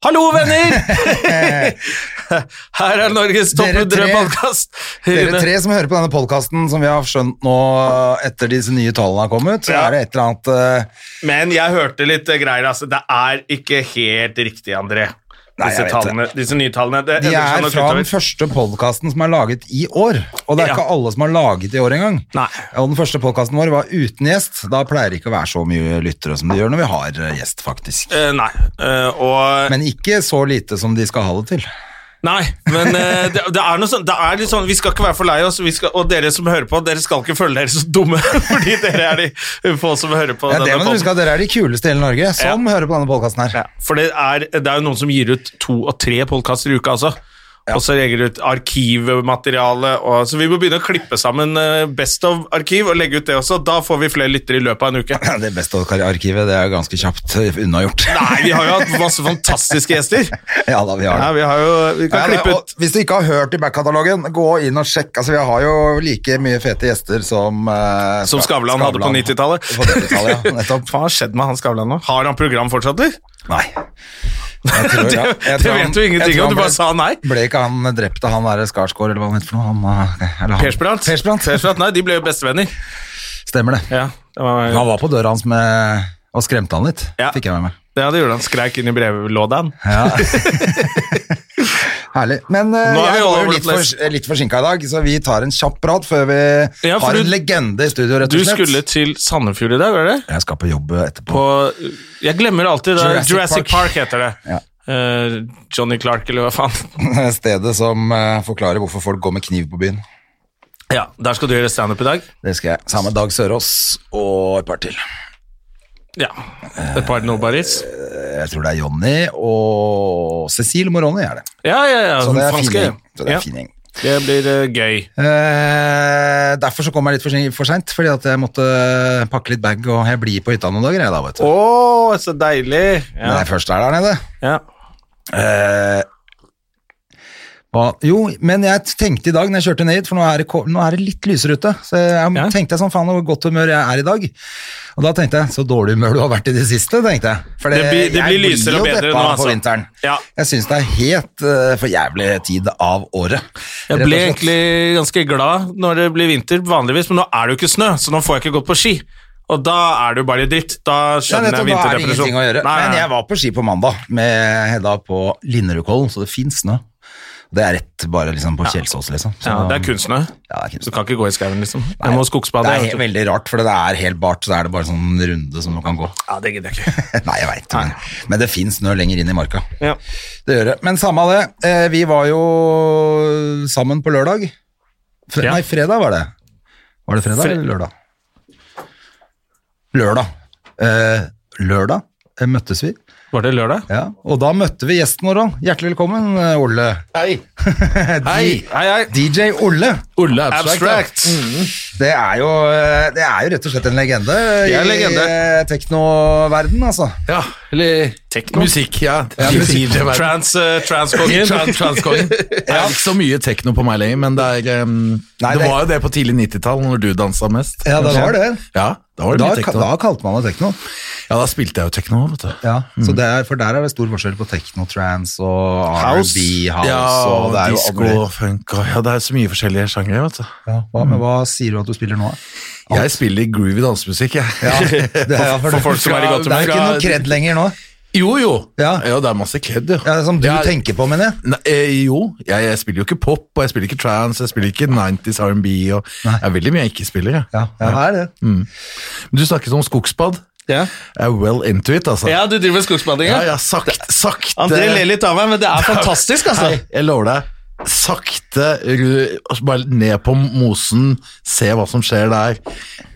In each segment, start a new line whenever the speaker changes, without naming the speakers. Hallo, venner! Her er Norges topp
Dere
100
tre-
podkast.
Dere tre som hører på denne podkasten, som vi har skjønt nå etter disse nye tallene har kommet, så
Ja.
er det et eller annet eh,
Men jeg hørte litt eh, greier. Altså. Det er ikke helt riktig, André.
Nei,
Disse,
jeg vet
tallene, disse nye tallene. Det
De
endrer seg
er
nok
fra
utover.
den første podkasten som er laget i år, og det er
Ja.
ikke alle som har laget i år engang.
Nei.
Og den første podkasten vår var uten gjest. Da pleier det ikke å være så mye lyttere som det gjør når vi har eh, gjest, faktisk.
Eh, nei. eh, og,
Men ikke så lite som de skal ha det til.
nei, men eh, det, det er noe sånn, det er litt sånn Vi skal ikke være for lei oss, vi skal, og dere som hører på, dere skal ikke føle dere så dumme, fordi dere er de få som hører på.
Ja, det må du
denne podden.
huske at Dere er de kuleste i hele Norge som hører på denne podkasten her.
Ja, for det er, det er jo noen som gir ut to og tre podkaster i uka, altså. Og så legger de ut arkivmateriale. Og, så vi må begynne å klippe sammen eh, Best of-arkiv og legge ut det også. Da får vi flere lyttere i løpet av en uke.
Det beste arkivet det er jo ganske kjapt unnagjort.
Nei, vi har jo hatt masse fantastiske gjester.
Ja da, vi har det.
Ja, vi har jo Vi
Ja,
kan
det-
klippe
og
ut
Hvis du ikke har hørt i backkatalogen, gå inn og sjekk. Altså, vi har jo like mye fete gjester som eh,
som
Ska-
Skavlan hadde på 90-tallet.
På 90-tallet, ja. Nettopp.
Hva har skjedd med han Skavlan nå? Har han program fortsatt, eller?
Nei. Jeg tror,
Det,
jeg
det
tror han-
vet du
jeg
ingenting
tror
om,
han
du bare sa nei.
ble, ble ikke han drept av han derre Skarsgård, eller hva han heter for noe? Han, eh, eller han-
Persbrandt?
Persbrandt.
Persbrandt, Nei, de ble jo bestevenner.
Stemmer det.
Ja, det var
Han var på døra hans med, og skremte han litt,
Ja.
fikk jeg med meg.
Ja, det gjorde han. Skreik inn i brevlådan.
Ja. Herlig. Men eh,
Nå er vi
jeg
all
var
over
jo
the
litt,
place.
for, litt forsinka i dag, så vi tar en kjapp prat før vi
Ja, for
har en
du-
legende i studio, rett
Du
og slett.
skulle til Sandefjord i dag, var det?
Jeg skal på jobb etterpå.
På, jeg glemmer alltid det. Jurassic,
Jurassic
Park.
Park.
heter det.
Ja.
Eh, Johnny Clark, eller hva faen.
stedet som eh, forklarer hvorfor folk går med kniv på byen.
Ja, Der skal du gjøre standup i dag?
Det skal jeg. Sammen med Dag Sørås og et par til.
Ja. Et par nobodies?
Jeg tror det er Jonny og Cecil Moroni er det.
Ja, ja, ja.
Så det er
den
fin
franske.
gjeng. Så det
Ja,
er fin gjeng.
det blir eh, gøy.
Eh, derfor så kom jeg litt for, sen- for seint, fordi at jeg måtte eh, pakke litt bag, og jeg blir på hytta noen dager, jeg da, vet du.
Å, så deilig! Ja.
Når jeg først er der nede.
ja.
Eh, hva- jo, men jeg tenkte i dag når jeg kjørte ned hit, for nå er det, ko- nå er det litt lysere ute, så jeg
Ja.
tenkte jeg sånn, faen hvor godt humør jeg er i dag. Og da tenkte jeg, så dårlig humør du har vært i det siste, tenkte jeg. For
Det blir- det
jeg
blir lysere og
jo
bedre
deppa
nå, altså.
På vinteren.
Ja.
Jeg synes det er helt eh, for jævlig tid av året.
Jeg
rett og
ble
slett.
egentlig ganske glad når det blir vinter, vanligvis, men nå er det jo ikke snø, så nå får jeg ikke gått på ski. Og da er det jo bare dritt. Da
Ja,
skjønner
nettopp,
jeg
da er det
vinterdepresjon.
ingenting å gjøre.
Nei, nei,
Men
nei.
jeg var på ski på mandag med Hedda på Linderudkollen, så det finnes snø. Det er rett bare liksom på Kjelsås, liksom. Så-
ja, det er kunstsnø.
Ja, det er kunst.
Du kan ikke gå i skauen, liksom. Jeg må skogsbade.
Det er
jeg vet
helt,
du.
veldig rart, for det er helt bart, så er det bare sånn runde som du kan gå.
Ja, det gidder jeg ikke.
Nei, jeg veit, men, men det fins snø lenger inn i marka.
Ja.
Det gjør det. Men samme av det, eh, vi var jo sammen på lørdag. Fre
Ja.
Nei, fredag var det. Var det fredag
Fre-
eller lørdag? Lørdag. Eh, lørdag eh, møttes vi,
Var det lørdag?
ja. og da møtte vi gjesten vår òg. Hjertelig velkommen, eh, Olle.
Hei.
Hei, hei, hei.
DJ Olle.
Olle
Abstract.
Det er, jo, eh, det er jo rett og slett en legende
Det er en legende.
i eh, teknoverden, altså.
Ja, eller
Tekno.
musikk, ja.
Ja, musikk.
DJ verden.
Trans, uh, transkongen.
Trans- Transkongen. Det er ikke så mye tekno på meg lenger, men det er ehm,
Nei,
Det
det-
var jo det på tidlig 90-tall, når du dansa mest.
Ja, det
kanskje.
var det.
Ja, da var det
Da,
mye tekno.
da kalte man det tekno.
Ja, da spilte jeg jo tekno, vet du.
Ja, så det er, for der er det stor forskjell på techno-trans og
House.
R&B, house,
ja,
og
og
det er jo
disco
alle-
og funk og Ja, det er så mye forskjellige sjangere, vet du.
ja, hva, men hva sier du at du spiller nå?
Jeg spiller groovy dansemusikk, jeg.
det er, for,
for folk som er i godt
Det er
humør.
ikke noe kred lenger nå.
Jo, jo.
Ja.
det er masse kred, jo.
Ja, det er som du
Jeg-
tenker på, mener jeg.
Nei, eh, jo, jeg, jeg spiller jo ikke pop, og jeg spiller ikke trans, jeg spiller ikke 90s R&B, og det er veldig mye jeg ikke spiller, jeg.
Ja, ja, det er det.
Men Du snakket om skogsbad.
Ja.
Jeg er well into it, altså.
ja, du driver med skogsbading,
ja,
ja?
ja, sakte, sakte.
André ler litt av meg, men det er fantastisk, altså.
Nei, jeg lover deg. sakte ru- altså bare ned på mosen, se hva som skjer der.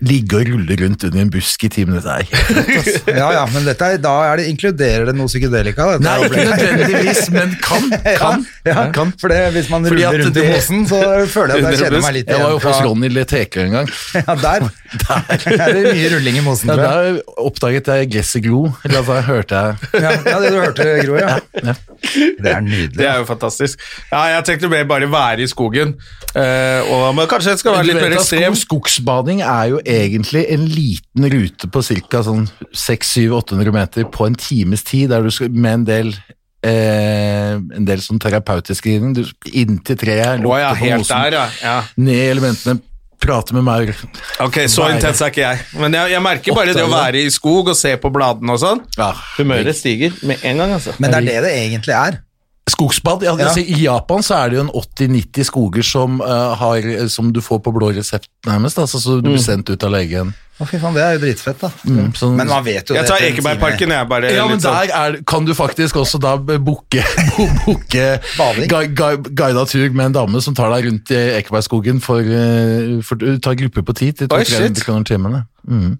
Ligge og rulle rundt under en busk i ti minutter. Det er helt rått, ass.
Ja, ja, men dette er, da er det, inkluderer det noe psykedelika? Dette
Nei,
her
ikke
opplegget.
nødvendigvis, men kan. kan,
ja,
kan.
for det, hvis man
Fordi
ruller
at
rundt i
det-
mosen, så føler jeg at jeg
Under
kjenner meg
buss.
litt
Jeg var jo hos
fra-
Ronny Leteker en gang.
Ja, der. der er det mye rulling i mosen,
Ja,
tror jeg.
der oppdaget jeg gresset gro. Eller altså, jeg hørte jeg
Ja, ja, det du hørte, Gro, ja. Det er
Det
nydelig.
er jo fantastisk. Ja, jeg tenkte mer bare være i skogen. Eh, og, men kanskje jeg skal være
Du
litt
vet
mer
at
ekstrem.
skog- Skogsbading er jo egentlig en liten rute på ca. Sånn 600-800 meter på en times tid, der du skal, med en del eh, en del sånn terapeutisk inn, du, inntil treet,
Å ja,
lukte på
helt
mosen,
der, ja. ja.
ned i elementene, prate med maur.
Ok, så
Være.
intens er ikke jeg. Men jeg, jeg merker bare det å
Oppdage
være i skog og se på bladene og sånn.
Ja.
Humøret stiger med en gang, altså.
Men det er det det egentlig er.
Skogsbad, ja,
Ja.
Altså, I Japan så er det jo en 80-90 skoger som, eh, har, som du får på blå resept nærmest, altså, så du blir
Mm.
sendt ut av legen.
Å, fy faen, det er jo dritfett, da.
Mm, sånn-
Men man vet jo
Jeg
det.
tar
etter en time.
Ekebergparken, jeg. bare
Ja, men
litt sånn.
der er, kan du faktisk også da booke, booke
Bading.
gui- gui- guidet tur med en dame som tar deg rundt i Ekebergskogen for, eh, for Du tar grupper på tid til
Oi,
200
shit.
kroner timene. Mm.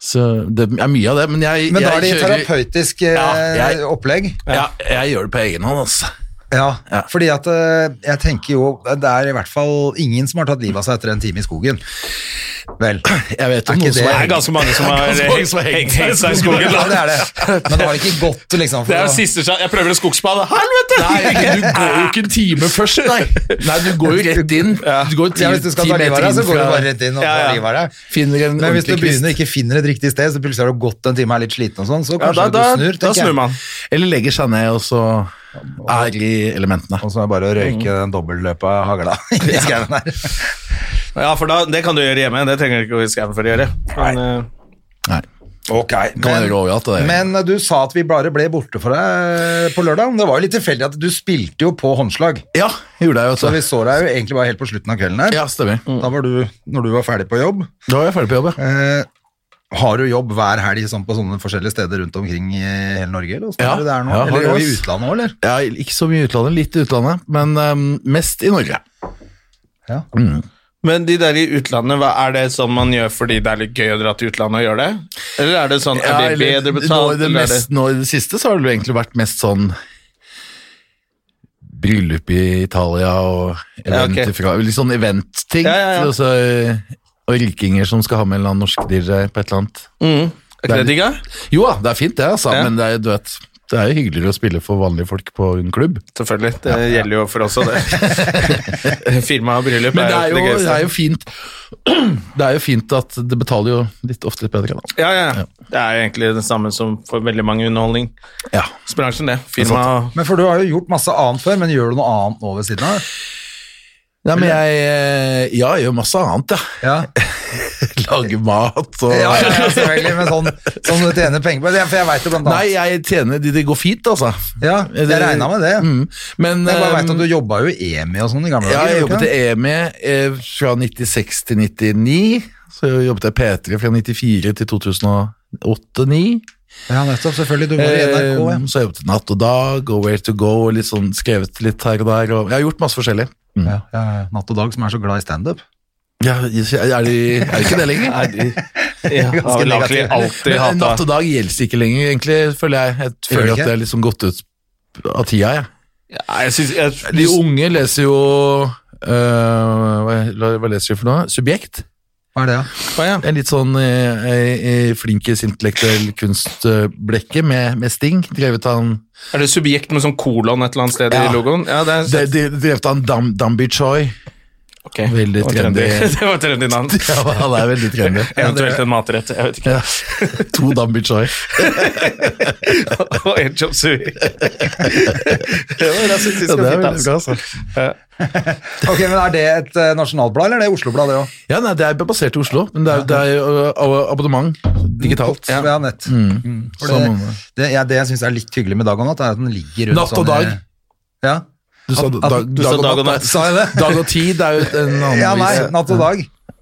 Så det er mye av det, men jeg,
Men da
jeg
er det i
kjører-
terapeutisk eh,
Ja, jeg-
opplegg.
ja, jeg gjør det på egen hånd, altså.
Ja,
Ja.
fordi at eh, jeg tenker jo Det er i hvert fall ingen som har tatt livet av seg etter en time i skogen. Vel.
Jeg vet
Er ikke
om noen som
det-
Det
er
er ganske mange som har
Ganske mange som har
hengt
hengt seg i
hengt seg i
skogen.
skogen.
Ja, det
da.
er det. Men det var ikke godt, liksom. For
Det
å-
er jo siste sjanse. Jeg prøver en skogsbad. Helvete!
Nei, du går jo ikke en time først, nei. Nei, du går jo rett inn. Du går ti,
ja, hvis du skal
ti
ta livet av
meter
deg, så
inn
går du bare
fra
rett inn og
Ja, ja.
tar livet av deg.
Finner en
Men hvis du
ordentlig kvist.
begynner og ikke finner et riktig sted, så plutselig har du gått en time og er litt sliten og sånn, så
Ja,
kanskje
da, da,
du snur,
da
tenker
snur
jeg.
man.
Eller legger seg ned, og så er i elementene.
Og så er det bare å
Mm.
røyke den dobbeltløpa hagla i skauen der.
Ja, for da, det kan du gjøre hjemme. Det trenger du ikke å gå i skauen for å gjøre. Men, eh,
Nei.
Ok,
Kan gjøre overalt, det der.
men eh, du sa at vi bare ble borte for deg på lørdag. Det var jo litt tilfeldig at du spilte jo på håndslag,
Ja, gjorde jeg,
så Mm.
vet
vi så deg jo egentlig bare helt på slutten av kvelden
du.
der.
Ja, stemmer.
Da var du, når du var ferdig på jobb.
Da var jeg ferdig på jobb, ja.
Eh, har du jobb hver helg sånn på sånne forskjellige steder rundt omkring i hele Norge, eller hvordan
Ja,
er det der nå?
ja, har
eller
det,
og i
ass.
utlandet òg, eller?
Jeg er ikke så mye i utlandet, litt i utlandet, men ehm, mest i Norge.
Ja.
Men de der i utlandet, hva er det sånn man gjør fordi det er litt gøy å dra til utlandet og gjøre det? Eller er det sånn, er det
eller
bedre
nå i
betalt? eller
det,
er
mest, nå i det siste så har det jo egentlig vært mest sånn Bryllup i Italia og
Ja,
event
ok.
ifra, litt sånn event-ting.
Ja, ja, ja.
Og, så, og rikinger som skal ha med en eller annen norsk DJ på et eller annet.
det, er ikke det digg, da?
Jo da, det er fint det, altså,
Ja.
men det er, du vet, det er jo hyggeligere å spille for vanlige folk på en klubb.
Selvfølgelig. Det gjelder jo for oss også, det. Firma og bryllup
Men det er jo, det
gøyeste.
er jo fint Det er jo fint at det betaler jo litt ofte litt bedre, da.
Ja, ja. Det er jo egentlig det samme som for veldig mange i underholdningsbransjen,
Ja.
det. Firma og
Men for du har jo gjort masse annet før, men gjør du noe annet nå ved siden av?
Nei, men jeg, eh, ja, jeg gjør masse annet, jeg.
Ja,
Lager mat og
ja, ja, ja selvfølgelig, men sånn, sånn du tjener penger på det, for jeg veit jo blant
Nei,
annet.
jeg tjener de det går fint, altså.
ja, jeg regna med det.
Mm. Men
Men jeg bare
eh,
veit at du jobba jo i EMI og sånn i gamle
ja,
dager.
jeg
gjorde du
jobbet
ikke
i
det?
EMI eh, fra 96 til 99. Så jobbet jeg i P3 fra 94 til 2008-2009.
Ja, nettopp, selvfølgelig. Du var i NRK, ja.
Eh, Så har jeg jobbet Natt og Dag og Where to Go og litt sånn skrevet litt her og der. Og jeg har gjort masse forskjellig.
Ja, ja, ja. Natt og Dag, som er så glad i standup.
Ja, er de, er de ikke det lenger?
ja,
Ganske
har vel egentlig
negativ.
alltid
Men Natt
hata
og Dag gjelder ikke lenger, egentlig, føler jeg. Jeg føler
det
at
ikke?
det er liksom gått ut av tida, jeg.
Nei, jeg synes, jeg,
De unge leser jo øh, hva, hva leser de for noe? Subjekt.
Hva er det, da?
Å, ja.
En litt sånn eh, eh, flinkis intellektuell kunstblekke med, med sting, drevet av en
Er det subjekt med sånn kolon et eller annet sted
Ja.
i logoen? Ja, det er
de- de- Drevet av en Dam, Dambi Choi.
Ok.
veldig
Det var trendy.
trendy.
Det var trendy navn.
Ja, han er veldig trendy.
Eventuelt en matrett. Jeg vet ikke.
Ja. To Dambi Choi.
og en chop suey. det var rasistisk
Ja,
og fint,
det er veldig bra,
altså.
altså.
Ok, men Er det et eh, nasjonalblad, eller er det Oslo-blad, det òg?
Ja, nei, det er basert i Oslo, men det er, det er jo øh, abonnement digitalt.
Ja, ja nett. Mm. For
Samme
det,
det.
det, ja, det jeg syns er litt hyggelig med Dag og Natt, er at den ligger rundt
Natt og dag.
Ja.
Du sa
At- at-
dag,
du sa
dag og natt.
Sa jeg det?
Dag og tid er jo en annen
Eh, Ja, nei,
vise.
Natt og Dag.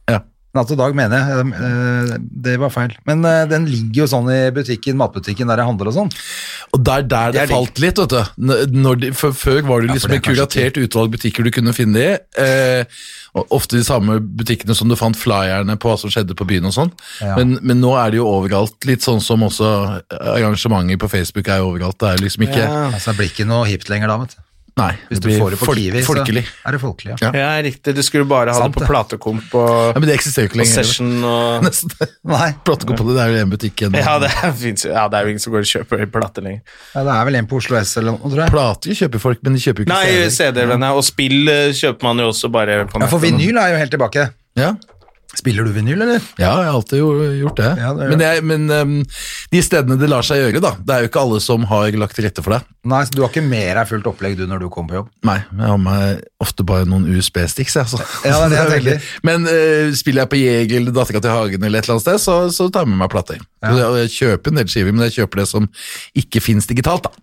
Ja.
Natt og dag, mener jeg. Eh, Det var feil. Men eh, den ligger jo sånn i butikken, matbutikken der jeg handler og sånn.
Og der, der det,
Det er digg.
falt litt, vet du. N- Når de, for, før var det
Ja, for
liksom
det
et
er kanskje
kuratert utvalg butikker du kunne finne det i. Eh, og ofte de samme butikkene som du fant flyerne på hva som skjedde på byen og sånn.
Ja.
Men, men nå er det jo overalt, litt sånn som også arrangementer på Facebook er jo overalt. Det er liksom ikke
Altså, det blir ikke noe hipt lenger da, vet du.
Nei,
Hvis du får det på
folk-
Kiwi,
folkelig.
så er det folkelig.
Ja.
Ja.
Ja, riktig. Du skulle bare ha
Sant
det på
det.
platekomp og,
Ja, men det eksisterer jo ikke
og
lenger.
session og
Nesten.
Nei,
Platekopp på det, det er jo en butikk igjen.
ja det, er, finnes jo- ja, det er jo ingen som går og kjøper plater lenger.
ja, det er vel en på Oslo S eller noe, tror jeg.
Plater kjøper folk, men de kjøper jo ikke
Nei,
CD-er.
CD-er, venner. Og spill eh, kjøper man jo også bare på
Ja,
nettet.
for vinyl er jo helt tilbake.
Ja.
Spiller du vinyl, eller?
Ja, jeg har alltid jo- gjort det.
Ja, det gjør
men jeg, men ehm, de stedene det lar seg gjøre, da. Det er jo ikke alle som har lagt til rette for det.
Nei, så du har ikke mer av fullt opplegg du når du kommer på jobb.
Nei, jeg har med ofte bare noen USB-sticks, jeg, altså.
Ja, det er det jeg
veldig- Men eh, spiller jeg på Jeger eller Dattera til Hagen eller et eller annet sted, så, så tar jeg med meg plater. Og Jeg kjøper en del skiver, men jeg kjøper det som ikke fins digitalt, da.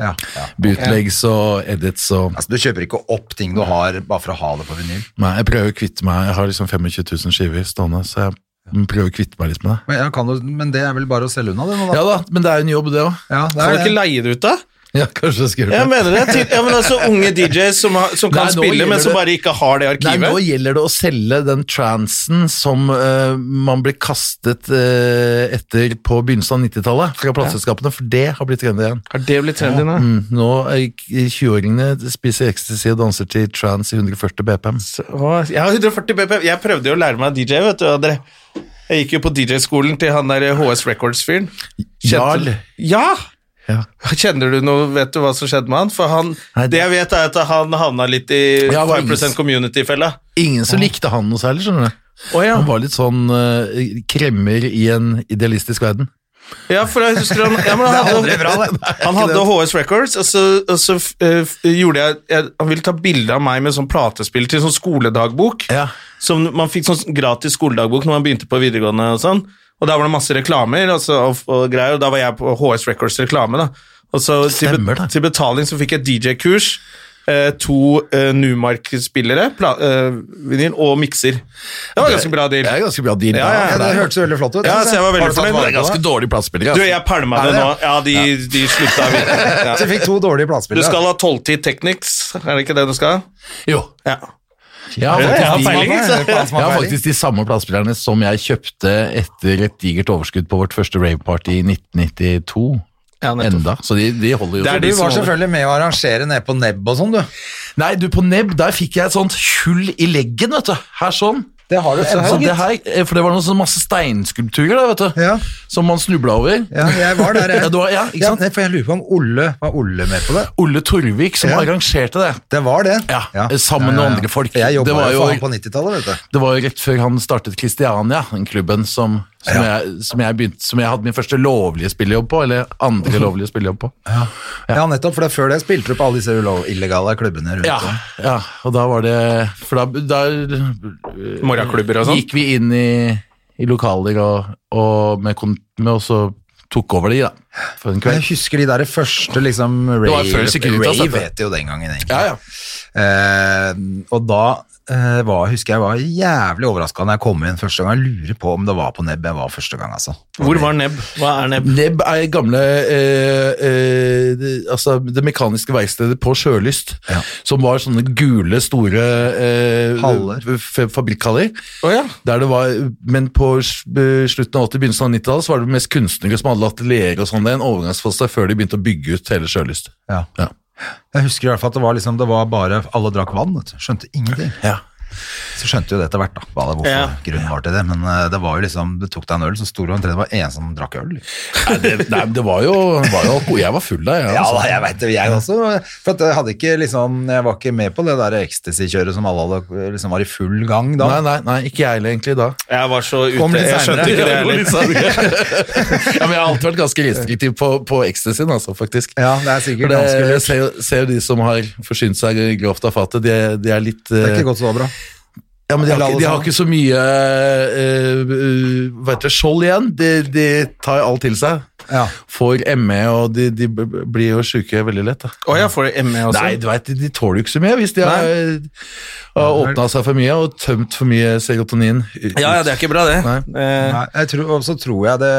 Ja. ja.
Bootlegs og edits og
Altså, du kjøper ikke opp ting du har bare for å ha det på vinyl.
Nei, jeg prøver å kvitte meg Jeg har liksom 25 000 skiver stående, så jeg prøver å kvitte meg litt med det.
Men, ja, kan du, men det er vel bare å selge unna det nå, da?
Ja da, men det er jo en jobb, det òg.
Ja, det
Kan
er
du ikke
det.
leie det ut, da?
Ja, kanskje jeg skal gjøre det.
Jeg mener det. Til, ja, men altså Unge DJs som, har, som kan
Nei, nå
spille, men
gjelder
som
det-
bare ikke har det
Nei,
arkivet.
nå gjelder det å selge den transen som eh, man ble kastet eh, etter på begynnelsen av 90-tallet fra plateselskapene, for det har blitt trendy igjen.
har det blitt trendy nå?
Mm, nå er k- 20-åringene spiser ecstasy og danser til trans i 140 BPM.
Å, Jeg har 140 BPM. Jeg prøvde jo å lære meg DJ, vet du. André. Jeg gikk jo på DJ-skolen til han der HS Records-fyren.
Jarl.
Kjente- Ja!
Ja.
Kjenner du noe, vet du hva som skjedde med han? For han,
Nei,
Det
det-
jeg vet, er at han havna litt i
Ja, hva-
5 community-fella.
Ingen
Ah.
som likte han noe særlig, skjønner du. Han var litt sånn eh, kremmer i en idealistisk verden.
Ja, for jeg husker han ja, men han, hadde,
aldri bra, det.
han hadde HS Records, og så, og så eh, f- gjorde jeg, jeg Han ville ta bilde av meg med sånn platespill til sånn skoledagbok.
Ja.
Som man fikk sånn gratis skoledagbok når man begynte på videregående. Og sånn Og der var det masse reklamer, og, så, og, og greier, og da var jeg på HS Records reklame. da Og så til,
Stemmer
be
det.
til betaling så fikk jeg DJ-kurs, eh, to eh, Numark-spillere, pla- eh, vinyl og mikser. Det var ganske bra
Det
deal.
er ganske bra deal.
Ja, ja,
da,
Ja, det
for det er-
hørtes veldig flott ut.
Ja,
synes
så jeg var
Har du
veldig
tatt
fornøyd med
vare
det
på
er ganske dårlige platespillere.
Du,
Altså.
jeg pælma
Er
det
det
nå.
det?
Ja, de, de slutta. Ja.
Så jeg fikk to dårlige
Du
platespillere.
skal ha tolvtid Technics, er det ikke det du skal? ha?
Jo.
Ja.
Jeg har
Ja,
faktisk
jeg har
de-
peiling.
Jeg har faktisk de samme platespillerne som jeg kjøpte etter et digert overskudd på vårt første raveparty i 1992.
Ja, nettopp.
Enda, så de, de holder jo
Det er
Du
de som
var
holder.
selvfølgelig med å arrangere ned på nebb og sånn, du.
Nei, du, på nebb, der fikk jeg et sånt hull i leggen, vet du. Her sånn.
Det har du
Så
ennå,
det
gitt.
her, eh, for det var noen sånn masse steinskulpturer der, vet du.
Ja.
Som man snubla over.
Ja, jeg var der, jeg.
Ja, du var- ja, ikke sant?
nei, for jeg lurer på om Olle var Olle med på det.
Olle Torvik som
Ja.
arrangerte det.
Det var det.
Ja, sammen med andre folk.
Jeg
Det
jobba
var
jo
jo-
faen på 90-tallet, vet du.
Det var jo rett før han startet Kristiania, den klubben som, som,
Ja.
jeg, som, jeg begynte, som jeg hadde min første lovlige spillejobb på. Eller andre lovlige spillejobb på.
Ja, nettopp, for det, før det spilte du på alle disse ulo- illegale klubbene rundt
Ja,
om.
ja, og da var det For da, da
Morgenklubber og sånn.
gikk vi inn i, i lokaler og, og med, kon- med og så tok over de, da. For en
Men
kveld.
Jeg husker de der første liksom rave,
var før Securitas,
rave
dette.
het det jo den gangen, egentlig.
Ja, ja.
Eh, og da eh, var, husker jeg var jævlig overraska når jeg kom inn første gang. Jeg lurer på om det var på nebb jeg var første gang, altså.
Hvor var Nebb? Hva er Nebb?
Nebb er gamle eh, eh, det, altså det mekaniske verkstedet på Sjølyst,
Ja.
som var sånne gule, store eh,
Haller.
f- fabrikkhaller.
Å ja.
Der det var, men på s- eh, slutten av 80, begynnelsen av 90-tallet så var det mest kunstnere som hadde atelier og sånn. Det er en overgangsfase før de begynte å bygge ut hele Sjølyst.
Ja.
Ja.
Jeg husker i hvert fall at det var, liksom, det var bare alle drakk vann, vet du. skjønte ingenting.
Ja.
Så skjønte jo det etter hvert, da, hva det, hvorfor
Ja.
grunnen var til det. Men eh, det var jo liksom, du tok deg en øl, så store omtrent det var en som drakk øl.
Nei, det, nei, men det var jo, var jo alko- Jeg var full da, jeg.
Ja,
altså.
da, jeg veit det, jeg også. For at jeg, hadde ikke, liksom, jeg var ikke med på det der ecstasy-kjøret som alle hadde, liksom, var i full gang da.
Nei, nei, nei, ikke jeg heller egentlig da.
Jeg var så ute,
Kom litt
jeg skjønte
senere.
ikke det heller.
Ja, men jeg har alltid vært ganske restriktiv på, på ecstasyen, altså, faktisk.
Ja, det er
For
sikkert
det,
ganske
jeg
lurt.
ser, jo- ser jo de som har forsynt seg grovt av fatet, de, de er litt
Det er
eh,
ikke gått så bra.
Ja, men de har,
Eller
ikke,
alle
de har
sammen.
ikke så mye eh, eh, hva heter det, skjold igjen. De, de tar jo alt til seg.
Ja.
Får ME, og de, de b- b- blir jo syke veldig lett. Da.
Å ja, får de ME også?
Nei, du vet, de, de tåler jo ikke så mye hvis de har, eh, har åpna seg for mye og tømt for mye serotonin. ut.
Ja, ja, det er ikke bra, det. Eh,
Nei, jeg tror, og så tror jeg det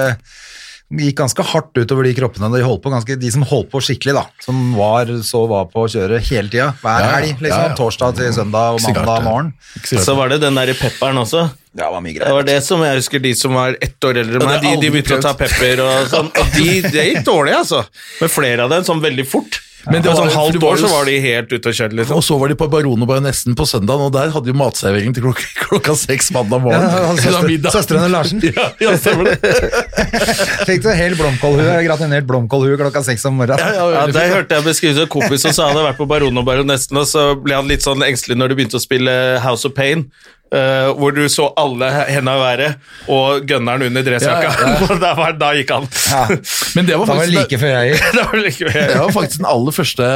gikk ganske hardt utover de kroppene de holdt på, ganske, de som holdt på skikkelig, da. Som var, så var på å kjøre hele tida. Hver
Ja, ja.
helg, liksom.
Ja, ja.
Torsdag til søndag og
Ikke så rart,
mandag
det.
morgen.
Ikke så rart.
Så var det den derre pepperen også.
Ja, det var mye
Det var
greier.
det som jeg husker de som var ett år eldre enn
Ja,
meg, de,
det har
de
aldri
begynte å ta pepper og sånn. Og de, det gikk dårlig, altså. Med flere av dem sånn veldig fort.
Men
Men
det
det
var-
sånn
du
halvt
var
år
jo-
så var de helt ute og kjørte, liksom.
Og så var de på Baron og Baronessen på søndagen, og der hadde jo matservering til klokka, klokka seks mandag morgen.
Ja, han
Det var
søster-
middag.
søstrene Larsen.
ja, ja, stemmer det.
Fikk du hel blomkålhue? Gratinert blomkålhue klokka seks om morgenen.
Ja, ja,
Ja,
veldig
Der
fint.
hørte jeg beskrivelsen av en kompis som sa han hadde vært på Baron og Baronessen, og så ble han litt sånn engstelig når de begynte å spille House of Pain. eh, hvor du så alle henda i været og gunneren under dressjakka.
Ja, ja,
Og da, var, da gikk han.
Men det var
Da var
faktisk
det like før jeg
det var likevel.
Det var faktisk den aller første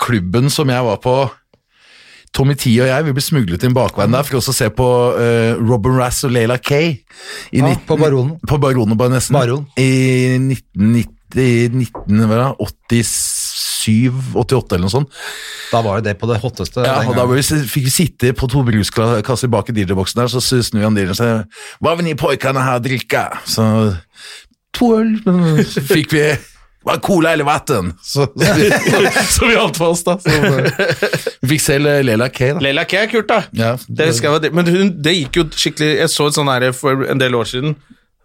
klubben som jeg var på. Tommy T og jeg vi ble smuglet inn bakveien der for også å se på eh, Robin Rass og Leila Kay. I
Ja,
19
på Baronen.
På Baronen og Baronessen.
Baron.
I 1987-88 eller noe sånt.
Da var jo det på det hotteste.
Ja,
den
og da ble vi, s- fikk vi sitte på to bruskasser bak i DJ-boksen der, så s- snur han dealeren seg. Hva vil ni pojkene her drikke? Så to øl, men så fikk vi var det cola eller vatten? Så, så, så, vi holdt fast, da. Så, vi fikk selv eh, Lela Kay, da.
Leila Kay er kult, da.
Ja.
Det husker jeg var dritt. Men hun, det gikk jo skikkelig Jeg så et sånn her for en del år siden.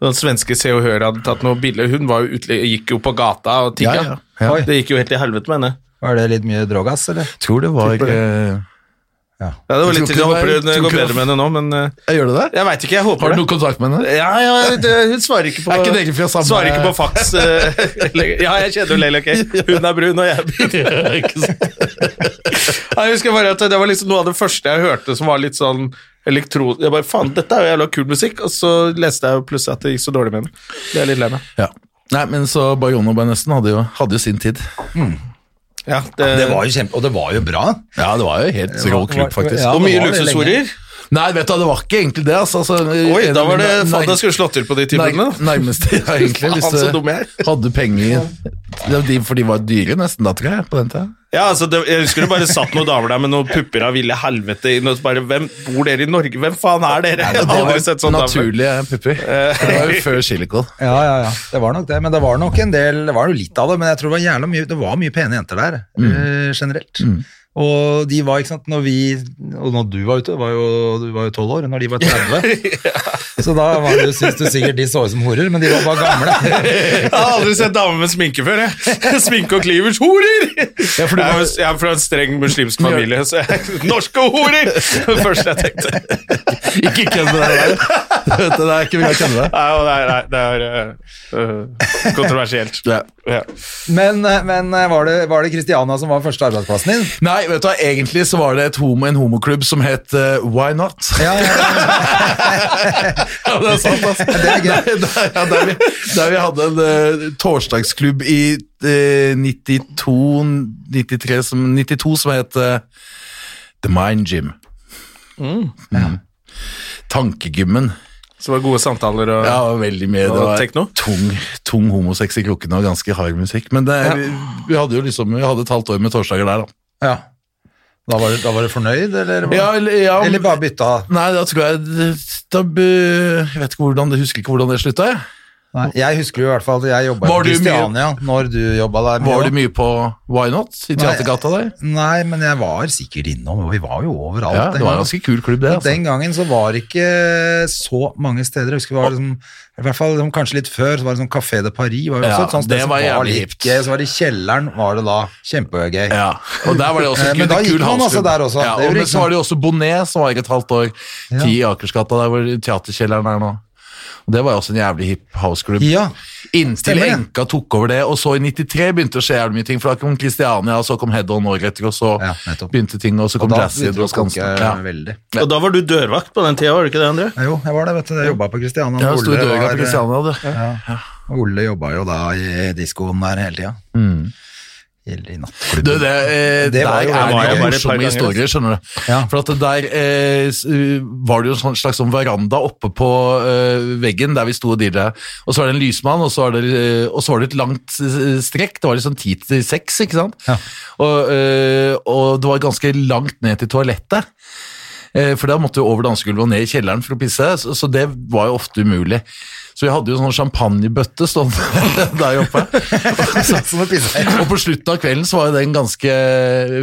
Den svenske Se og Hør hadde tatt noe bilde. Hun var jo utlig, gikk jo på gata og tigga.
Ja, ja, ja.
Oi.
Det gikk jo helt til helvete med henne.
gangen. Var det litt mye drogas, eller?
Tror det var eh,
Ja, det var
Jeg
litt til, jeg
tror ikke det
håper
var-
det
tror
går
ikke det
bedre med henne nå, men eh,
Jeg gjør det der?
Jeg veit ikke, jeg håper
Har du
det.
noe kontakt med henne?
Ja, ja, det, hun svarer ikke på
Er ikke dere fra samme-
Svarer ikke på fax. eh, lenger. ja, jeg kjenner jo Leila Kay. Hun er brun, og jeg er brun. Ja, Jeg husker bare at Det var liksom noe av det første jeg hørte som var litt sånn elektro... Jeg bare, faen, dette er jo jævla kul musikk, og så leste jeg jo plutselig at det gikk så dårlig med den. Det er jeg litt lei meg.
Ja. Nei, men så Baron og Baronessen hadde jo, hadde jo sin tid.
Ja, det,
Det var jo kjempe... Og det var jo bra.
Ja, det var jo helt rå klubb, faktisk.
Ja,
og
det
mye
var det
luksushorer.
Nei, vet du, hva, det var ikke egentlig det. Altså, altså,
Oi,
en
da
av
var det
mine-
faen,
nei-
jeg skulle slått til på de timene.
Nei, nærmeste ja, egentlig, hvis
Faen, så dum jeg
du hadde penger. Ja, de, for de var dyre nesten da, tror jeg, på den tida.
Ja, altså, det, jeg husker det bare satt noen damer der med noen pupper av ville helvete inn, og så bare Hvem bor dere i Norge? Hvem faen er dere? Jeg har aldri sett sånn damer.
naturlige pupper. Det var jo før silikon.
Ja, ja, ja. Det var nok det. Men det var nok en del Det var jo litt av det, men jeg tror det var jævla mye Det var mye pene jenter der,
Mm.
eh, generelt. Og de var, ikke sant, når vi Og når du var ute, var jo, du var jo 12 år, når de var 30. Så da var det, synes du sikkert de så ut som horer, men de var bare gamle.
Jeg har aldri sett damer med sminke før, jeg. Sminke og klivers. Horer!
for du
jeg, er,
var-
jo- jeg er fra en streng muslimsk familie, så jeg Norske horer! Det første jeg tenkte.
Ikke kødd med det der. Vet du, Det er ikke mye å kødde med.
Nei, nei, nei det er øh, kontroversielt.
Ja.
Ja.
Men, eh, men eh, var, det, var det Christiana som var første arbeidsplassen din?
Nei, vet du hva, egentlig så var det et homo, en homoklubb som het eh, Why Not.
Ja, ja,
Ja, det er sant, altså.
Det er gøy.
Der, der, ja, der, vi, der vi hadde en eh, torsdagsklubb i eh, 92, 93, som, 92 som het eh, The Mind Gym. Mhm. Tankegymmen.
Så det var gode samtaler og
Ja, det var veldig mye. Det
Og
var
techno?
tung, tung homosex i klokkene og ganske hard musikk. Men det, vi, vi hadde jo liksom, vi hadde et halvt år med torsdager der, da.
ja. Da, var du, da var du fornøyd, eller? hva?
Ja, eller, ja,
Eller bare bytta?
Nei, da tror jeg da, be- Jeg vet ikke hvordan, jeg husker ikke hvordan det slutta. jeg.
Nei, jeg husker jo i hvert fall at jeg jobba i
Var du mye-
Christiania når du jobba der. mye,
Var
da.
du mye på Why Not i Teatergata der?
Nei, men jeg var sikkert innom, og vi var jo overalt.
Ja,
den
det var
gangen.
en ganske kul klubb, det.
Men
Altså.
Den gangen så var det ikke så mange steder. Jeg husker det var liksom, i hvert fall liksom, kanskje litt før, så var det sånn Café de Paris. Var jo også
Ja,
et sånt sted
det
som
var
var
jævlig
litt
hipt.
gøy. Så var det i kjelleren, var det da kjempegøy.
Ja, og der var det også
Eh,
en
men da
kul-
gikk
kul
man
hansklubb.
også der også. Det er
Ja, og
jo liksom-
men
ikke
så var det jo også Bonnet, som var i et halvt år. Ti i Akersgata, der hvor teaterkjelleren er nå. Og Det var jo også en jævlig hip houseklubb.
Ja.
Inntil
Stemmer det.
Enka tok over det, og så i 93 begynte det å skje jævlig mye ting. For da kom Kristiania, og så kom Head On året etter, og så
Ja, nettopp.
begynte ting, og så
Og
kom
da
Jazzy
begynte det
og
å koke
Skansen. Ja.
veldig.
Og da var du dørvakt på den tida, var du ikke det, André?
Ja, jo, jeg var det, vet du. Jeg jobba på Christiania.
Ja,
og
det sto i døra
var- eh,
til Kristiania, du.
Ja. Og Ole jobba jo da i diskoen der hele tida. I til i natt.
Mm. Du, det,
Det var jo-
eh, der er
det var
det
jeg
jo
bare et par
morsomme
ganger.
historier, skjønner du.
Ja.
For at det der eh, s- uh, var det jo en sånn slags sånn veranda oppe på eh, veggen der vi sto og dirra. Og så var det en lysmann, og så var det, eh, og så var det et langt eh, strekk. Det var liksom ti til seks, ikke sant?
Ja.
Og, eh, og det var ganske langt ned til toalettet. Eh, For da måtte vi over dansegulvet og ned i kjelleren for å pisse, så- så det var jo ofte umulig. Så vi hadde jo sånn champagnebøtte stående der oppe.
Som å pisse.
Og på slutten av kvelden så var jo den ganske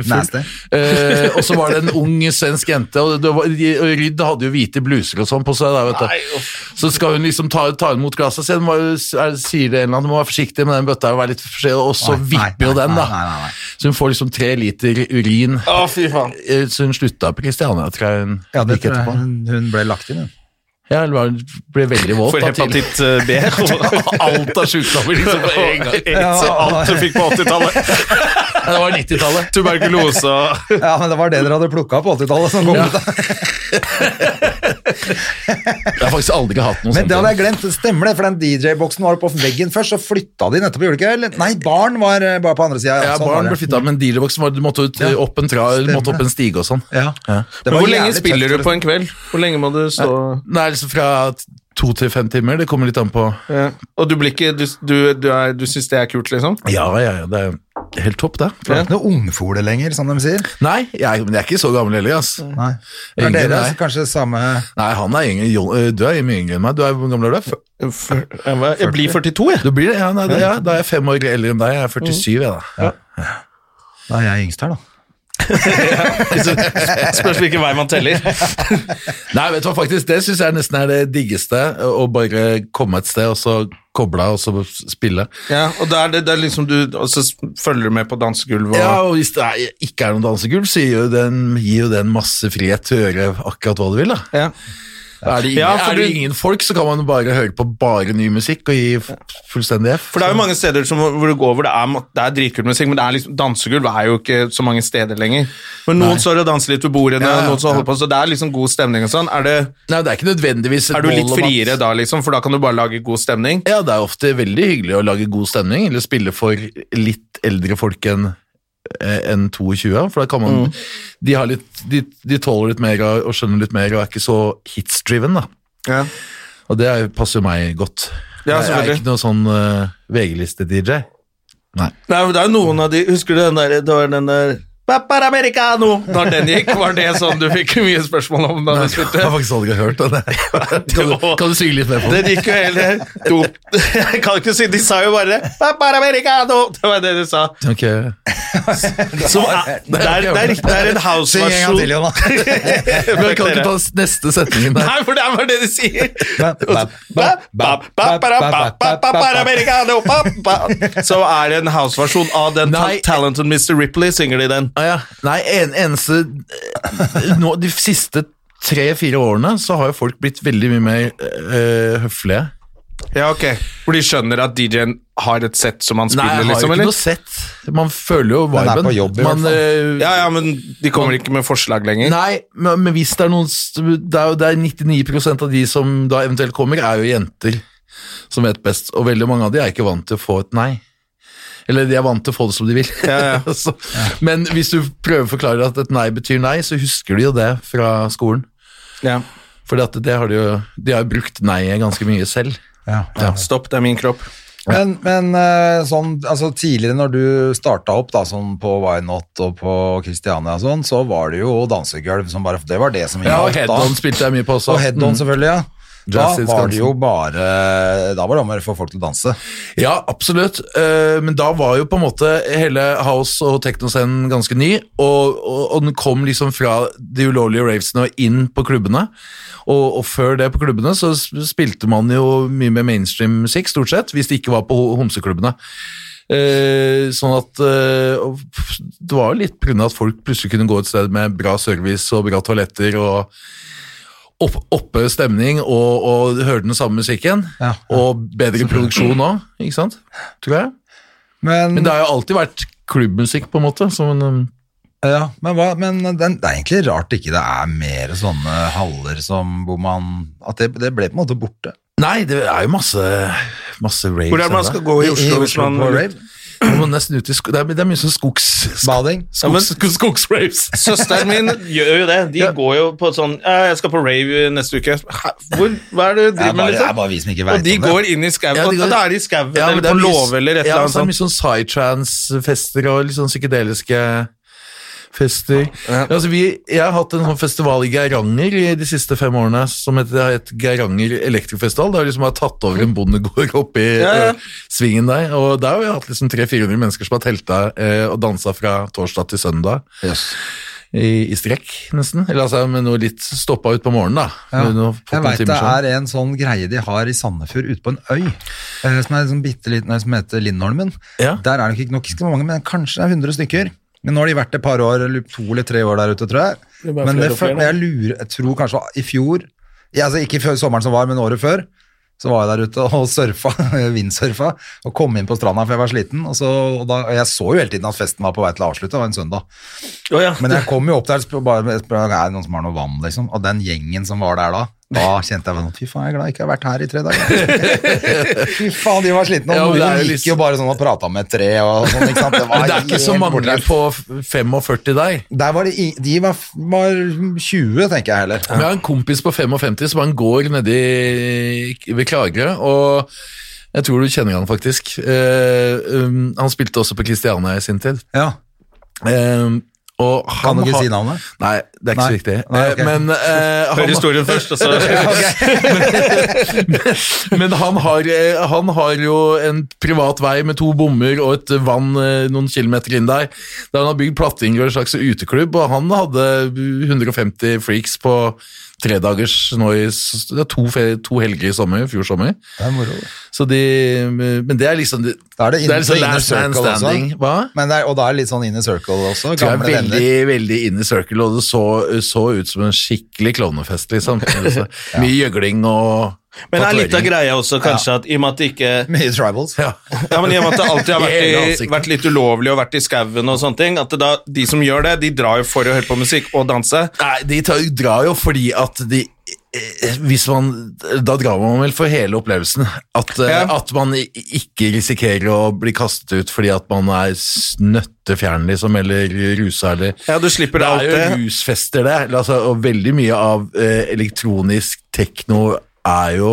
full.
Nasty.
Eh, og så var det en ung svensk jente, og, det var, de- og Rydd hadde jo hvite bluser og sånn på seg. Der, vet du. så skal hun liksom ta, ta imot glasset, så hun må, jo- er, sier det en eller annen, du må være forsiktig med den bøtta, og, være litt forsiktig, og så
Nei, nei,
vipper jo den,
nei, nei,
da.
nei, nei.
Så hun får liksom tre liter urin.
Å, fy faen.
Eh, Så hun slutta på Kristiania, tror jeg hun
Ja, det
gikk
tror jeg.
etterpå.
Hun, hun ble lagt inn, hun.
Ja, eller var- ble veldig våt.
For
da, til-
hepatitt eh, B.
Alt av sjukdommer, liksom. på en gang.
Aids og alt du fikk på 80-tallet.
Ja, Det var 90-tallet.
Tuberkulose og
Ja, men det var det dere hadde plukka på 80-tallet. som kom ut.
Jeg har faktisk aldri hatt noe
Men
sånt.
det hadde jeg glemt. Stemmer det? For den DJ-boksen var på veggen først, så flytta de nettopp. Gjorde de ikke? Eller? Nei, barn var eh, bare på andre sida.
Ja, sånn barn ble flytta, men dealerboksen var, du måtte ut, opp, en tra, du måtte opp en stige og sånn.
Ja. Det
Men
var
Hvor lenge
jævlig
spiller
tøft,
du på en kveld? Hvor lenge må du stå
Det er liksom fra to til fem timer, det kommer litt an på
ja. Og du blir ikke Du, du, du, er- du syns det er kult, liksom?
Ja, ja, ja, det er helt topp, det.
Det er ikke noe ungfole lenger, som de sier.
Nei, jeg, men jeg er ikke så gammel heller, ass. Nei,
Nei. Det
Yngre,
er dere
nei.
altså, kanskje samme
han er yngre, Jo- øh, du er mye yngre enn meg. Du er, hvor gammel er du? F-
Jeg, var- jeg blir 42, jeg.
Du blir det? Ja, nei, det, ja, da er jeg fem år eldre enn deg. Jeg er 47, jeg, da.
Da er jeg yngst her, da.
Spørs hvilken vei man teller.
Nei, vet du hva, faktisk, det syns jeg nesten er det diggeste. Å bare komme et sted, og så koble av, og så spille.
Ja, og da er det, det er liksom du Og så følger du med på dansegulvet og
Ja, og hvis det er, ikke er noen dansegulv, så gir jo den, gir jo den masse frihet til å gjøre akkurat hva du vil, da.
Ja.
Er det, ingen,
Ja, for
er det
du-
ingen folk, så kan man jo bare høre på bare ny musikk og gi f- fullstendig F.
For det er jo mange steder som, hvor du går hvor det er, ma- det er dritkul musikk, men det er liksom, dansegulv er jo ikke så mange steder lenger. Men noen står og danser litt ved bordene,
Ja, ja,
noen står og holder på, så det er liksom god stemning og sånn. Er, det,
Nei, det er ikke nødvendigvis et
er du
mål
litt
om at-
friere da, liksom? For da kan du bare lage god stemning?
Ja, det er ofte veldig hyggelig å lage god stemning, eller spille for litt eldre folk enn eh, enn 22, for da kan man
Mm.
de, har litt, de, de tåler litt mer og og skjønner litt mer og er ikke så hits-driven, da.
Ja.
Og det er- passer jo meg godt.
Ja,
jeg er
selvfølgelig.
ikke noe sånn eh, VG-liste-DJ.
Nei, men det er jo noen av de Husker du den der, det var den der Papar Americano! Når den gikk, var det sånn du fikk mye spørsmål om da du
Jeg har
sluttet?
faktisk aldri hørt den. Kan du, kan du synge litt mer på
Det
den?
gikk jo helt dop. Jeg kan ikke si De sa jo bare Papar Americano! Det var det de sa.
Ok.
Så, eh, det, er, det, er, riktig- det er en
Syng en gang til,
house-versjon.
Jonas.
Men jeg kan ikke ta neste setningen der.
Nei, for det er bare det de sier.
Ba, ba, ba, ba, ba, ba, ba, ba, ba, ba.
Så er det en house-versjon av den
Nei.
Talented Mr. Ripley, synger de den.
Ah, ja. Nei, en, eneste eh, nå, De siste tre-fire årene så har jo folk blitt veldig mye mer eh, høflige.
Ja, ok. Hvor de skjønner at DJ-en har et sett som han
Nei,
spiller,
jeg har jo
liksom,
ikke noe
eller?
sett. Man føler jo
er
viben.
på jobb i hvert
Man,
fall.
eh,
Ja, ja, men de kommer ikke med forslag lenger.
Nei, men, men hvis det er noen st- Det er jo det er 99 av de som da eventuelt kommer, er jo jenter som vet best. Og veldig mange av de er ikke vant til å få et nei. Eller de er vant til å få det som de vil.
Ja,
Så, men hvis du prøver å forklare at et nei betyr nei, så husker de jo det fra skolen.
Ja.
For det har de jo De har jo brukt nei-et ganske mye selv.
Ja.
Stopp, det er min kropp.
Men, men eh, sånn, altså tidligere når du starta opp da, sånn på Why Not og på Christiania og sånn, så var det jo dansegulv som bare Det var det som
Ja, og
gjaldt da.
Head-on spilte jeg mye på også.
Og head-on,
Mm.
selvfølgelig, ja. Da
Jazz is
var det
dancing.
jo bare Da var det om å gjøre å få folk til å danse.
Ja, absolutt. Eh, Men da var jo på en måte hele house- og teknoscenen ganske ny, og, og, og den kom liksom fra de ulovlige ravesene og inn på klubbene. Og, og før det på klubbene så s- spilte man jo mye mer mainstream musikk, stort sett, hvis det ikke var på ho- homseklubbene. Eh, sånn at eh, og f- Det var jo litt pga. at folk plutselig kunne gå et sted med bra service og bra toaletter og opp, oppe stemning og, og høre den samme musikken.
Ja, ja.
Og bedre produksjon òg, ikke sant? Tror jeg.
Men,
Men det har jo alltid vært klubbmusikk, på en måte. Som en, um,
ja, men, hva, men den, det er egentlig rart ikke det er mer sånne haller som hvor man At det, det ble på en måte borte.
nei, det er jo masse, masse raves.
Hvor er det man
her,
skal
da.
gå i Oslo
I
hvis man
på rave.
Man må nesten ut i sko det, er, det er mye sånn skogs...
Bading.
Ja, men-
skogs skogsraves.
Søsteren min gjør jo det. De går jo på sånn «Ja, 'Jeg skal på rave neste uke'. Hæ? Hvor, hva er det
Det
du
er
driver med,
bare, det er
liksom?
bare vi som ikke
Og
vet
de
om det.
går inn i skauen,
Ja, de går-
og da er de i skauen
Ja, men
eller
det
på
er mye-
låve eller et
ja,
eller
men
annet
så
sånt.
er det mye sånn psytrance-fester og litt sånn psykedeliske fester. Altså, vi, jeg har hatt en sånn festival i Geiranger i de siste fem årene som heter, det har hett Geiranger Elektrofestival. Der liksom har tatt over en bondegård oppe i
Ja, ja.
eh, svingen der. Og der har vi hatt liksom 300-400 mennesker som har telta eh, og dansa fra torsdag til søndag. I, I strekk, nesten. Eller altså med noe litt stoppa ut på morgenen, da.
Ja.
Med noe-
Jeg
noen
veit det
timer sånn.
er en sånn greie de har i Sandefjord, ute på en øy, eh, som er sånn bitte liten øy som heter Lindholmen.
Ja.
Der er det ikke nok ikke så mange, men kanskje det er 100 stykker. Men nå har de vært et par år, eller to eller tre år der ute, tror jeg.
er bare
Men
flere
det,
og flere,
fø- jeg, lurer, jeg tror kanskje det var i fjor, ja, altså ikke før sommeren som var, men året før, så var jeg der ute og surfa, vindsurfa, og kom inn på stranda for jeg var sliten. Og, så, og, da, og jeg så jo hele tiden at festen var på vei til å avslutte, det var en søndag.
Å, ja.
Men jeg kom jo opp der og spør- bare spør, er det noen som har noe vann, liksom. Og den gjengen som var der da, da kjente jeg sånn, fy faen, jeg er glad jeg ikke har vært her i tre dager. fy faen, de var slitne,
Ja,
og noen
men det er jo
gikk
liksom-
jo bare sånn og prata med et tre og sånn, ikke sant. Det var
Men det er ikke
helt
så
borte
mange
der.
på f- 45 der.
Der var det, i- de var, var 20, tenker jeg heller.
Men jeg har en kompis på 55 som han går nedi ved Klagerø, og jeg tror du kjenner han faktisk. Eh, um, han spilte også på Kristiania i sin tid.
Ja,
Eh, og han
kan du ikke
har-
si navnet?
Nei, det er ikke så
Nei.
viktig.
Nei,
Eh,
ok.
Men eh,
Hør
han,
historien først, og så
men han, har, eh, han har jo en privat vei med to bommer og et vann eh, noen kilometer inn der, der han har bygd plattinger og en slags uteklubb, og han hadde 150 freaks på tredagers nå i s- det er to, fe- to helger i sommer, i fjor sommer.
Det er moro.
Så de, men det er liksom det,
Da er det inne-
liksom
inner
last man
circle også.
standing. Hva?
Men det er, og da er det litt sånn inner circle også,
Du er
gamle
veldig,
venner.
veldig inner circle, og det så, så ut som en skikkelig klovnefest, liksom. Altså, Mye gjøgling og
Men det er litt av
tatoveringer.
greia også, kanskje, at i og med at det ikke
Mye tribals.
Ja.
Ja, men i og med at det alltid har
Hele
vært, i,
ansiktet.
vært litt ulovlig og vært i skauen og sånne ting, at det da, de som gjør det, de drar jo for å høre på musikk og danse.
Nei, de tar, drar jo fordi at de eh, hvis man, Da drar man vel for hele opplevelsen. At, eh,
Ja.
at man i- ikke risikerer å bli kastet ut fordi at man er snøttefjern, liksom, eller rusa, eller
Ja, du slipper
Det
deg
er
alt det.
jo rusfester, det. Altså, og veldig mye av eh, elektronisk tekno er jo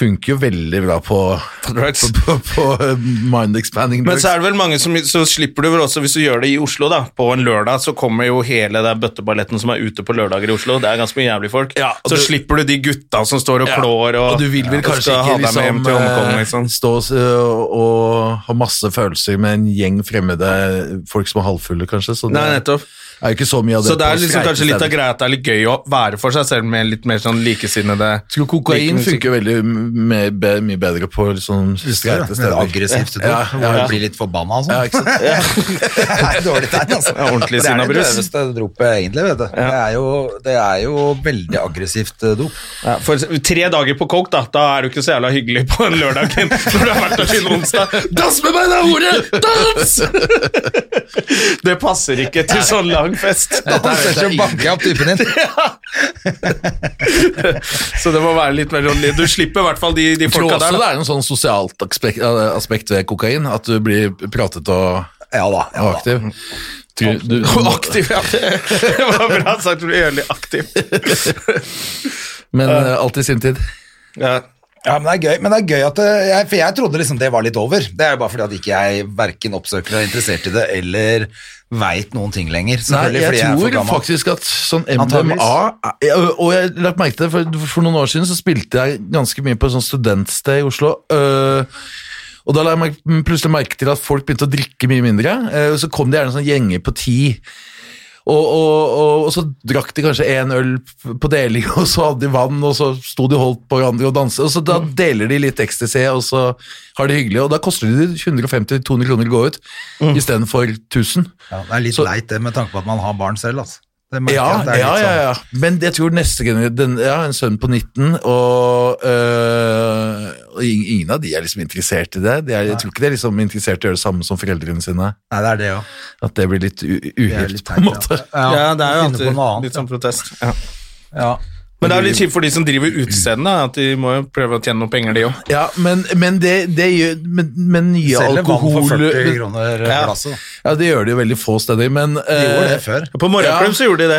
Funker jo veldig bra på, på,
drugs.
på, på eh, mind expanding
Men
drugs.
så er det vel mange som Så slipper du vel også, hvis du gjør det i Oslo, da, på en lørdag, så kommer jo hele den bøtteballetten som er ute på lørdager i Oslo. Det er ganske mye jævlig folk.
Ja, og
så
du-
slipper du de gutta som står og
Ja,
klår og,
og du vil vel
og
kanskje
skal ha
ikke
deg med hjem
liksom,
til Hongkong, liksom.
eh, stå og s- og, og ha masse følelser med en gjeng fremmede folk som er halvfulle, kanskje. Så det
Nei, nettopp.
er jo ikke så mye av det
Så det er
på
liksom kanskje litt av
streikesteder.
greia at det er litt gøy å være for seg selv med litt mer sånn likesinnede
Jeg tror kokain funker jo veldig mye bedre, mye bedre på liksom
Ja,
streite
men det er
steder.
aggressivt, du.
Ja, ja, ja.
Du blir litt forbanna og sånn.
Ja, ikke sant?
Det er dårlig tegn, altså.
Ja, ordentlig
det er det
sinnabrus.
døveste dopet, egentlig. vet du. Det, er jo, det er jo veldig aggressivt eh, dop.
Ja, for tre dager på coke, da, da er du ikke så jævla hyggelig på en lørdag når du har vært der siden onsdag. Dans med meg, da, hore! Dans! Det passer ikke til sånn lang fest.
Han ser så banker jeg opp typen din.
Så det må være litt mer sånn Du slipper i hvert fall de, de
Jeg tror
folka
også
der.
det
Da.
er noe sånn sosialt aspekt, aspekt ved kokain, at du blir pratet og,
Ja da. Ja, da.
og aktiv. Tror Du,
Aktiv, ja. Det var bra sagt. Du blir jævlig aktiv.
men eh, alt i sin tid.
Ja.
Ja, men det er gøy, men det er gøy at det, jeg, For jeg trodde liksom det var litt over. Det er jo bare fordi at ikke jeg verken oppsøker eller er interessert i det, eller veit noen ting lenger.
Nei,
Selvfølgelig
jeg
fordi jeg er for
tror
gammel.
faktisk at sånn MDMA
Antageligvis.
Ja, Og jeg har lagt merke til det, for, for noen år siden så spilte jeg ganske mye på et sånt studentsted i Oslo. øh, og da la jeg merke- plutselig merke til at folk begynte å drikke mye mindre. øh, så kom det gjerne sånn gjenger på ti. Og, og, og, og så drakk de kanskje én øl på deling, og så hadde de vann, og så sto de og holdt på hverandre og danset. Og så da
Mm.
deler de litt ecstasy, og så har de hyggelig. Og da koster det de 150-200 kroner å gå ut,
Mm.
istedenfor 1000.
Ja, det er litt
Så-
leit det, med tanke på at man har barn selv. altså. Det merker jeg
Ja,
at det
ja,
er litt
ja,
sånn.
ja. Men jeg tror neste generasjon den- Ja, en sønn på 19, og, øh, og ing- ingen av de er liksom interessert i det. De er, jeg tror ikke de er liksom interessert i å gjøre det samme som foreldrene sine.
Nei, det er det òg.
At det blir litt u-
Det er
uhypt,
litt
på en
teit,
måte.
Ja. Ja,
det er jo
finne på noe
alltid
annet,
litt sånn protest.
ja.
Men det er litt kjipt for de som driver utestedene, at de må jo prøve å tjene noen penger, de òg.
Ja, men, men det, det gjør Men, men nye
Selger vann
alkohol
for 40 kroner
Ja.
glasset. da.
Ja, det gjør de jo veldig få steder, men
De gjorde det
eh,
før.
På morgenklubb så gjorde de det.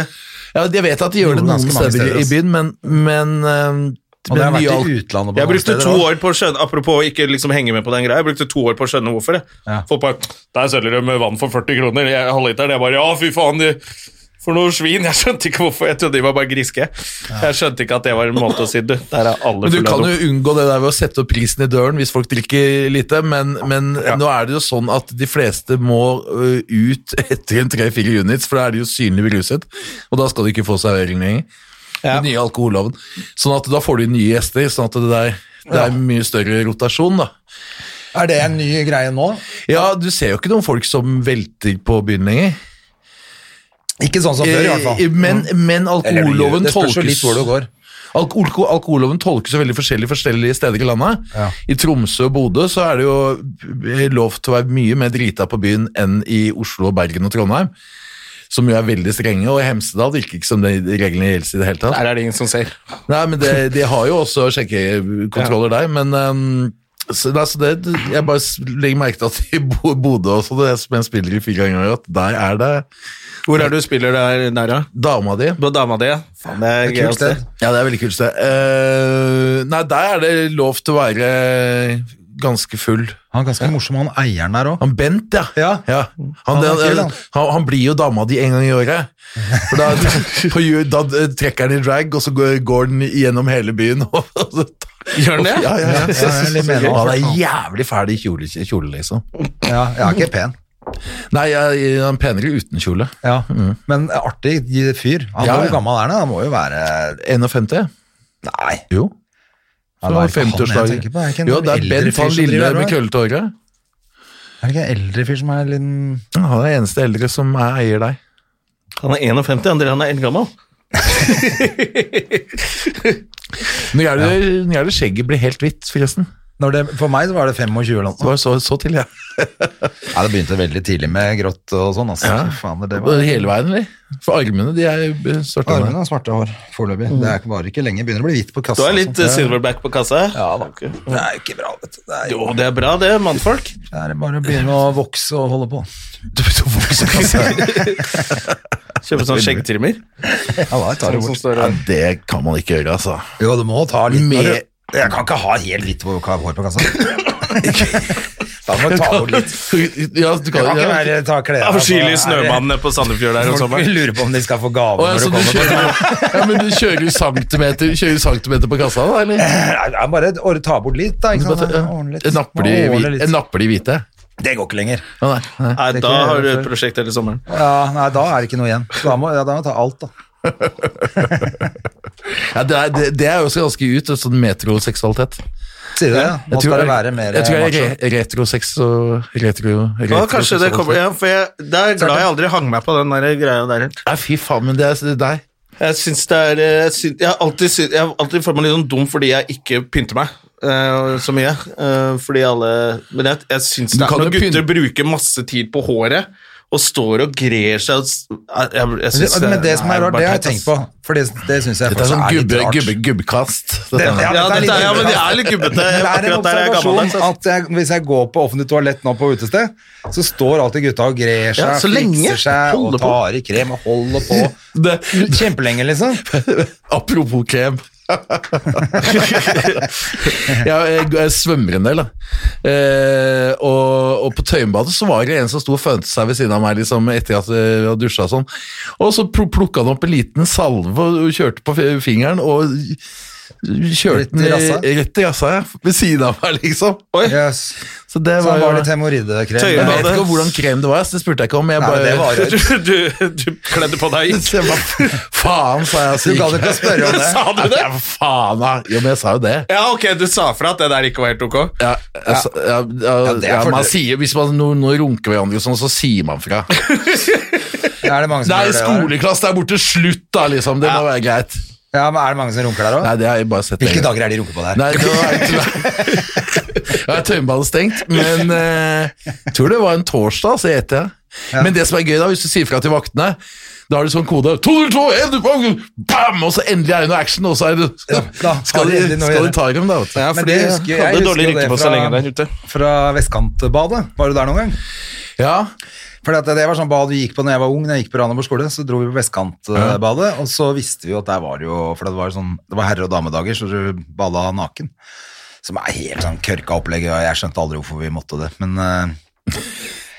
ja, Jeg vet at de gjør
Gjorde
det
ganske
noen
mange
steder i-
steder,
i
ass.
byen, men, men, eh,
Og det har
men nye
vært
al-
i utlandet. på
Jeg
mange
brukte
steder
to
også.
år på å skjønne Apropos å ikke liksom henge med på den greia, jeg brukte to år på å skjønne hvorfor. Jeg.
Ja.
Folk bare Der selger de vann for 40 kroner, jeg- halvliteren. Jeg bare Ja, fy faen, de, for noe svin. Jeg skjønte ikke hvorfor. Jeg trodde de var bare griske. Jeg skjønte ikke at det var en måte å si du, der er alle
Men du
fulle av
kan
dop.
jo unngå det der ved å sette opp prisen i døren hvis folk drikker lite, men, men nå er det jo sånn at de fleste må ø, ut etter en tre-fire units, for da er de jo synlig beruset, og da skal de ikke få servering lenger. Den nye alkoholloven. Sånn at da får du nye gjester, sånn at det, der, det er mye større rotasjon, da.
Er det en ny greie nå?
Ja, du ser jo ikke noen folk som velter på byen lenger.
Ikke sånn som før, i hvert fall. Mm.
Eh, Men, men
Eller det gjør-
alkoholloven
det spørs jo litt
tolkes
hvor du går.
Alko alko- alkoholloven tolkes jo veldig forskjellig forskjellige steder i landet.
Ja.
I Tromsø og Bodø så er det jo lov til å være mye mer drita på byen enn i Oslo, Bergen og Trondheim, som jo er veldig strenge, og i Hemsedal virker ikke som de reglene gjelder i det hele tatt.
Der er det ingen som ser.
Nei, men det, de har jo også sjekkekontroller der, men ehm, så, nei, så det, Jeg bare s- legger merke til at i Bo- Bodø også, det er som jeg spiller i fire ganger, at der er det
Hvor er det du spiller der nære?
dama di.
På dama di? ja. Faen, det er, gøy altså. å
Kult
se.
sted.
Ja, det er veldig kult sted. Eh, nei, der er det lov til å være ganske full.
Han er ganske morsom, han eieren der òg.
Han Bent, ja.
Ja.
Han,
Han er
den-
kul, han.
han. Han, blir jo dama di en gang i året. For da, liksom, på, ju- da eh, trekker han i drag, og så går, går den gjennom hele byen. Og, og så tar-
Gjør den det?
Ja, ja, ja.
Ja, jeg er litt med nå.
Og han er jævlig fæl i kjole, kjole, liksom.
Ja, jeg er ikke pen.
Nei, jeg, jeg er penere uten kjole.
Ja. Men artig fyr. Han
Ja,
Hvor
ja.
gammel er han? Han må jo være
51?
Nei.
Jo.
Han
Så
er ikke han
var
jeg
50-årsdagen.
tenker på, er ikke en
Jo, det er
eldre
Bent,
fyr
han
som
lille
driver
med
her,
krøllete håret.
Er det ikke en eldre fyr som er litt
Han er den eneste eldre som er eier deg.
Han er 51, andre han er eldgammel.
Når er det, når er det skjegget blir helt hvitt, forresten?
Når det, For meg så var det 25 eller
Det
noe.
var så, så til, jeg.
Ja, det begynte veldig tidlig med grått og sånn. Altså. Fy Faen, det var...
Hele veien, eller? For armene, de er jo svarte.
Armene har svarte hår foreløpig. Det
Mm.
er ikke- varer ikke lenge. Begynner å bli hvitt på
Du
kassa.
har litt eh,
altså.
silverback på kassa?
Ja, da. Det er jo ikke bra, vet du. Det er,
Jo, det er bra, det, mannfolk.
det er bare å begynne å vokse og holde på. Altså,
Kjøpe sånn skjeggtrimmer.
Ja, da, jeg tar det
Sånn
bort.
som står
Ja,
her.
det kan man ikke gjøre, altså.
Jo, du må ta litt
Med-
når du- Jeg kan ikke ha helt hvitt på- hår på kassa. da må du ta bort litt.
Ja, du
Det
kan,
kan ikke
ja.
være ta klær
Det er
altså, er
forskjellige
det-
snømannene på Sandefjord
Sånn
der om
Folk
sommeren.
lurer på om de skal få gave
Å, ja,
når du
så du
kommer. på-
kjører, ja, men du kjører centimeter, kjører centimeter på kassa, da? eller?
Nei, det er Bare å ta bort litt, da. Eh, Ikke sant?
Ja.
Ordne litt.
En napper de
Ordne
hvite?
litt.
En napper de hvite.
Det går ikke lenger.
Ja, nei, nei.
Nei,
Det
da
kan jeg
har du
gjøre
et prosjekt hele sommeren.
Ja, nei, da er det ikke noe igjen. Da må, ja, da må jeg ta alt, da.
Ja, det, er, det, det er jo også ganske ut, sånn metroseksualitet.
Sier du det? ja? Nå skal det være mer eh,
jeg tror jeg
macho.
er re retro-sex og retro... retro
Ja, kanskje det kommer ja, for jeg, Det er glad jeg aldri hang meg på den der greia der.
Nei, fy faen, men det er deg.
Jeg syns det er eh, Jeg, syns- jeg, har alltid, syns- jeg har alltid følt meg litt sånn dum fordi jeg ikke pynter meg eh, så mye. eh, fordi alle Men jeg, jeg syns
Du
det
kan
er når
jo
gutter
pyn-
bruker masse tid på håret og står og grer seg og s- jeg, jeg, jeg
Men
syns
det- Men det som er rart,
bare
det har jeg
teit,
tenkt
ass.
på. For det, det syns jeg
Dette
faktisk
er sånn
er litt
gubbe,
rart.
gubbe, gubbekast.
Det-
Dette,
Ja,
her.
dette er
dette, er- ja,
litt-
men jeg er litt
Men
gubbete.
det er en
Akkurat der er jeg
observasjon
gammeldags. ass.
at jeg, hvis jeg går på offentlig toalett nå på utested, så står alltid gutta og grer seg,
Ja, så lenge.
fikser seg og
Holder på.
tar i krem og holder på
Det-
kjempelenge, liksom.
Apropos krem. ja, jeg, jeg svømmer en del, da. Eh, og, og på Tøyenbadet så var det en som sto og fønte seg ved siden av meg liksom, etter at jeg hadde dusja og sånn. Og så pl plukka han opp en liten salve og kjørte på f- fingeren, og
Rett
kjørte
i
den
rassa?
i- rett i rassa, ja. Ved siden av meg, liksom.
Yes.
Så det
Så
var,
han
jo-
var litt hemoroidekrem.
Jeg vet
Tøyenbadet.
Nei,
ikke hvordan krem det var, så det spurte jeg ikke om. Jeg bare,
men det var
Du, du, du kledde på deg
Så jeg bare, Faen, sa jeg.
Du gadd
gikk-
ikke å spørre om det.
Sa du det?
Ja, faen, da. Jo, men jeg sa jo det.
Ja, ok, du sa fra at det der ikke var helt ok.
Ja, altså, ja, ja,
det er
ja, man
fordel.
sier, hvis man nå, nå runker hverandre og sånn, så sier man fra. Det
Er det mange som gjør
er en
det der?
skoleklasse der borte, slutt da, liksom. Det må være greit.
Ja, men er det mange som runker der
Nei,
òg?
det har jeg bare sett.
Hvilke
lenge.
dager er de runker på der?
Nei, det var ikke Ja, Tøyenbadet stengt, men eh, jeg tror det var en torsdag, så gjetter jeg. Men det som er gøy da, hvis du sier fra til vaktene, Da har du sånn kode 202, 1, bam! Og så endelig er det noe action, og så er det
da har
Skal
de
de,
endelig noe å
skal de
gjøre.
ta dem, da, vet du.
Ja,
Men
for
det
de
husker- jeg
hadde
husker
dårlig
jo det
rykte på
fra-
seg lenge der ute.
Fra Vestkantbadet. Var du der noen gang?
Ja,
Fordi at det var sånn bad vi gikk på når jeg var ung, når jeg gikk på Randaborg skole, så dro vi på Vestkantbadet, og så visste vi jo at der var det jo, for det var jo sånn, det var herre- og damedager, så du bada naken, som er helt sånn kørka opplegg, og jeg skjønte aldri hvorfor vi måtte det, men eh,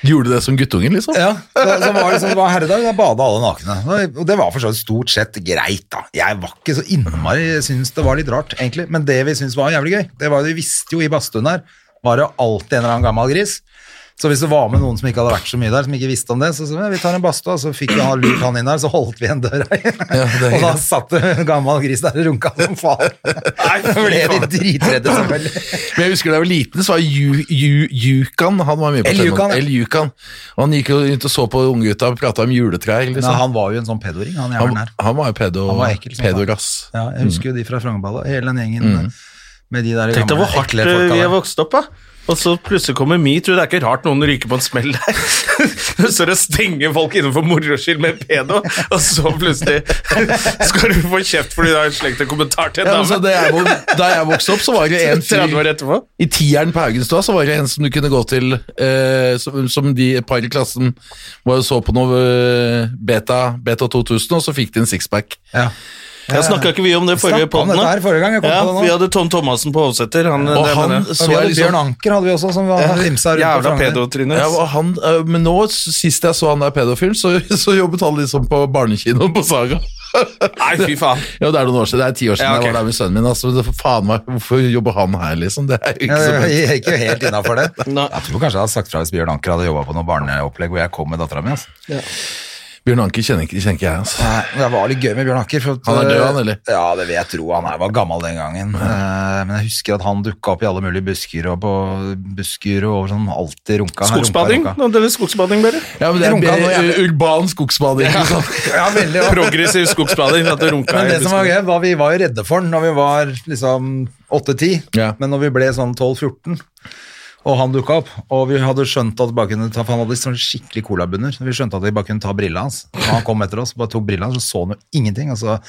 Gjorde du det som guttungen, liksom?
ja, så, så var det sånn, det var herredag, da bada alle nakne, og og det var for så vidt stort sett greit da, jeg var ikke så innmari, jeg synes det var litt rart egentlig, men det vi syntes var jævlig gøy, det var jo, vi visste jo i badstuen her, var det jo alltid en eller annen gammel gris, så hvis det var med noen som ikke hadde vært så mye der, som ikke visste om det, så sa vi, vi tar en badstue, og så fikk vi han lurt han inn der, så holdt vi igjen døra igjen.
det er
og da
greit.
satt det en gammel gris der og runka som faen. Nei, ble de dritredde selvfølgelig.
Men jeg husker da jeg var liten, så var Ju- Ju- Jukan Han var mye på
El
TV nå.
Jukan, ja.
El Jukan. Og han gikk jo rundt og så på unggutta og prata om juletrær. Liksom.
Nei, han var jo en sånn pedoring, han
han,
jævlen her.
han var jo pedo,
Han var ekkel som
pedorass.
Ja, jeg husker jo de fra Frognerballet, hele den gjengen med de der
Tenk deg
gamle,
hvor hardt
ekle
eh,
folka
vi
der.
har vokst opp, da. Og så plutselig kommer metoo. Det er ikke rart noen ryker på en smell der. Så det stenger folk innenfor moro skyld med en pedo, og så plutselig skal du få kjeft fordi du har slengt en kommentar til en
Ja, altså,
dame.
det jeg, vok- da jeg vokste opp, så var det en
30
fyr
år etterpå.
I tieren på Haugenstua så var det en som du kunne gå til, eh, som, som de et par i klassen var og så på noe eh, beta, beta 2000, og så fikk de en sixpack.
Ja.
Jeg snakka ikke mye om det i forrige
Snakket om
podden
dette her
nå.
forrige gang, jeg kom
Ja,
på det nå.
vi hadde Tom Thomassen på Hovseter. Han, eh,
Og
det
han
mener jeg.
så
Og vi
jeg
hadde
liksom-
Bjørn Anker hadde vi også, som var vimsa rundt
Jævla
på Frogner.
pedotryne.
Ja,
ass.
og han, eh, men nå, sist jeg så han der pedofilen, så, så jobbet han liksom på barnekinoen på Saga.
Nei, fy faen.
Ja, det er noen år siden, det er ti år siden
Ja, ok.
jeg var der med sønnen min. Altså, det- for faen meg, hvorfor jobber han her, liksom? Det er
Ja,
jo ikke så
det
bra.
gikk jo helt innafor det.
Nei.
Jeg tror kanskje jeg hadde sagt fra hvis Bjørn Anker hadde jobba på noe barneopplegg hvor jeg kom med dattera mi. Altså.
Bjørn Anker kjenner ikke, kjenner ikke jeg, altså.
Nei, men Det var litt gøy med Bjørn Aker. For at, eh,
Han er død, han, eller?
Ja, det vil jeg tro. Han er, var gammel den gangen. Eh, Men jeg husker at han dukka opp i alle mulige busker og på busker og sånn. Alltid runka. Han runka,
Skogsbading.
runka.
Nå deler skogsbading, dere.
Ja, men det er
Runka
mer,
nå, jeg-
eh, urban skogsbading. ikke sant?
Ja, veldig. ja.
Progressiv skogsbading. at du runka
Men
i
det som var
busken.
gøy, var vi var jo redde for den når vi var liksom 8-10,
Ja.
men når vi ble sånn 12-14, og han dukka opp, og vi hadde skjønt at bare kunne ta, for han hadde sånn skikkelig colabunner, så vi skjønte at vi bare kunne ta brillene hans. Og han kom etter oss, bare tok brillene hans, så så han jo ingenting, og så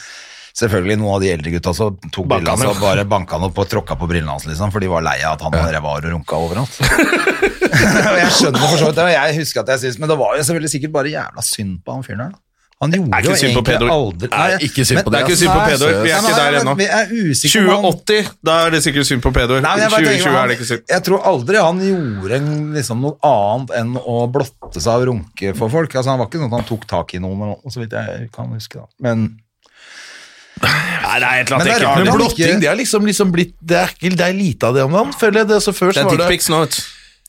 selvfølgelig noen av de eldre gutta så tok
Banka
brillene
han
hans og bare banka han opp og tråkka på brillene hans, liksom, for de var lei av at han ja. var og runka overalt. Og jeg skjønner for så vidt det, og jeg husker at jeg synes, men det var jo selvfølgelig sikkert bare jævla synd på han fyren her, da. Han gjorde
ikke
jo
synd på
egentlig
pedoer.
aldri
Nei, ikke synd
men- altså,
på
Det er ikke synd på pedoer. Vi er
Nei,
ikke
nei,
der
men
ennå.
Vi er usikre på om han-
2080, da er det sikkert synd på pedoer.
Nei, men jeg bare tenker
2020
på han-
er det ikke synd.
Jeg tror aldri han gjorde en- liksom, noe annet enn å blotte seg og runke for folk. Altså, han var ikke sånn at han tok tak i noen, eller noe, så vidt jeg kan huske. Da. Men
Nei, det er et eller
Men
annet
det er rart
ekkelt.
Men
det
med det.
blå-
blotting, det er liksom, liksom blitt det er, ikke, det er lite av det om dagen, føler jeg. Det, så før
Det
så
er
var det
dickpics nå, vet du.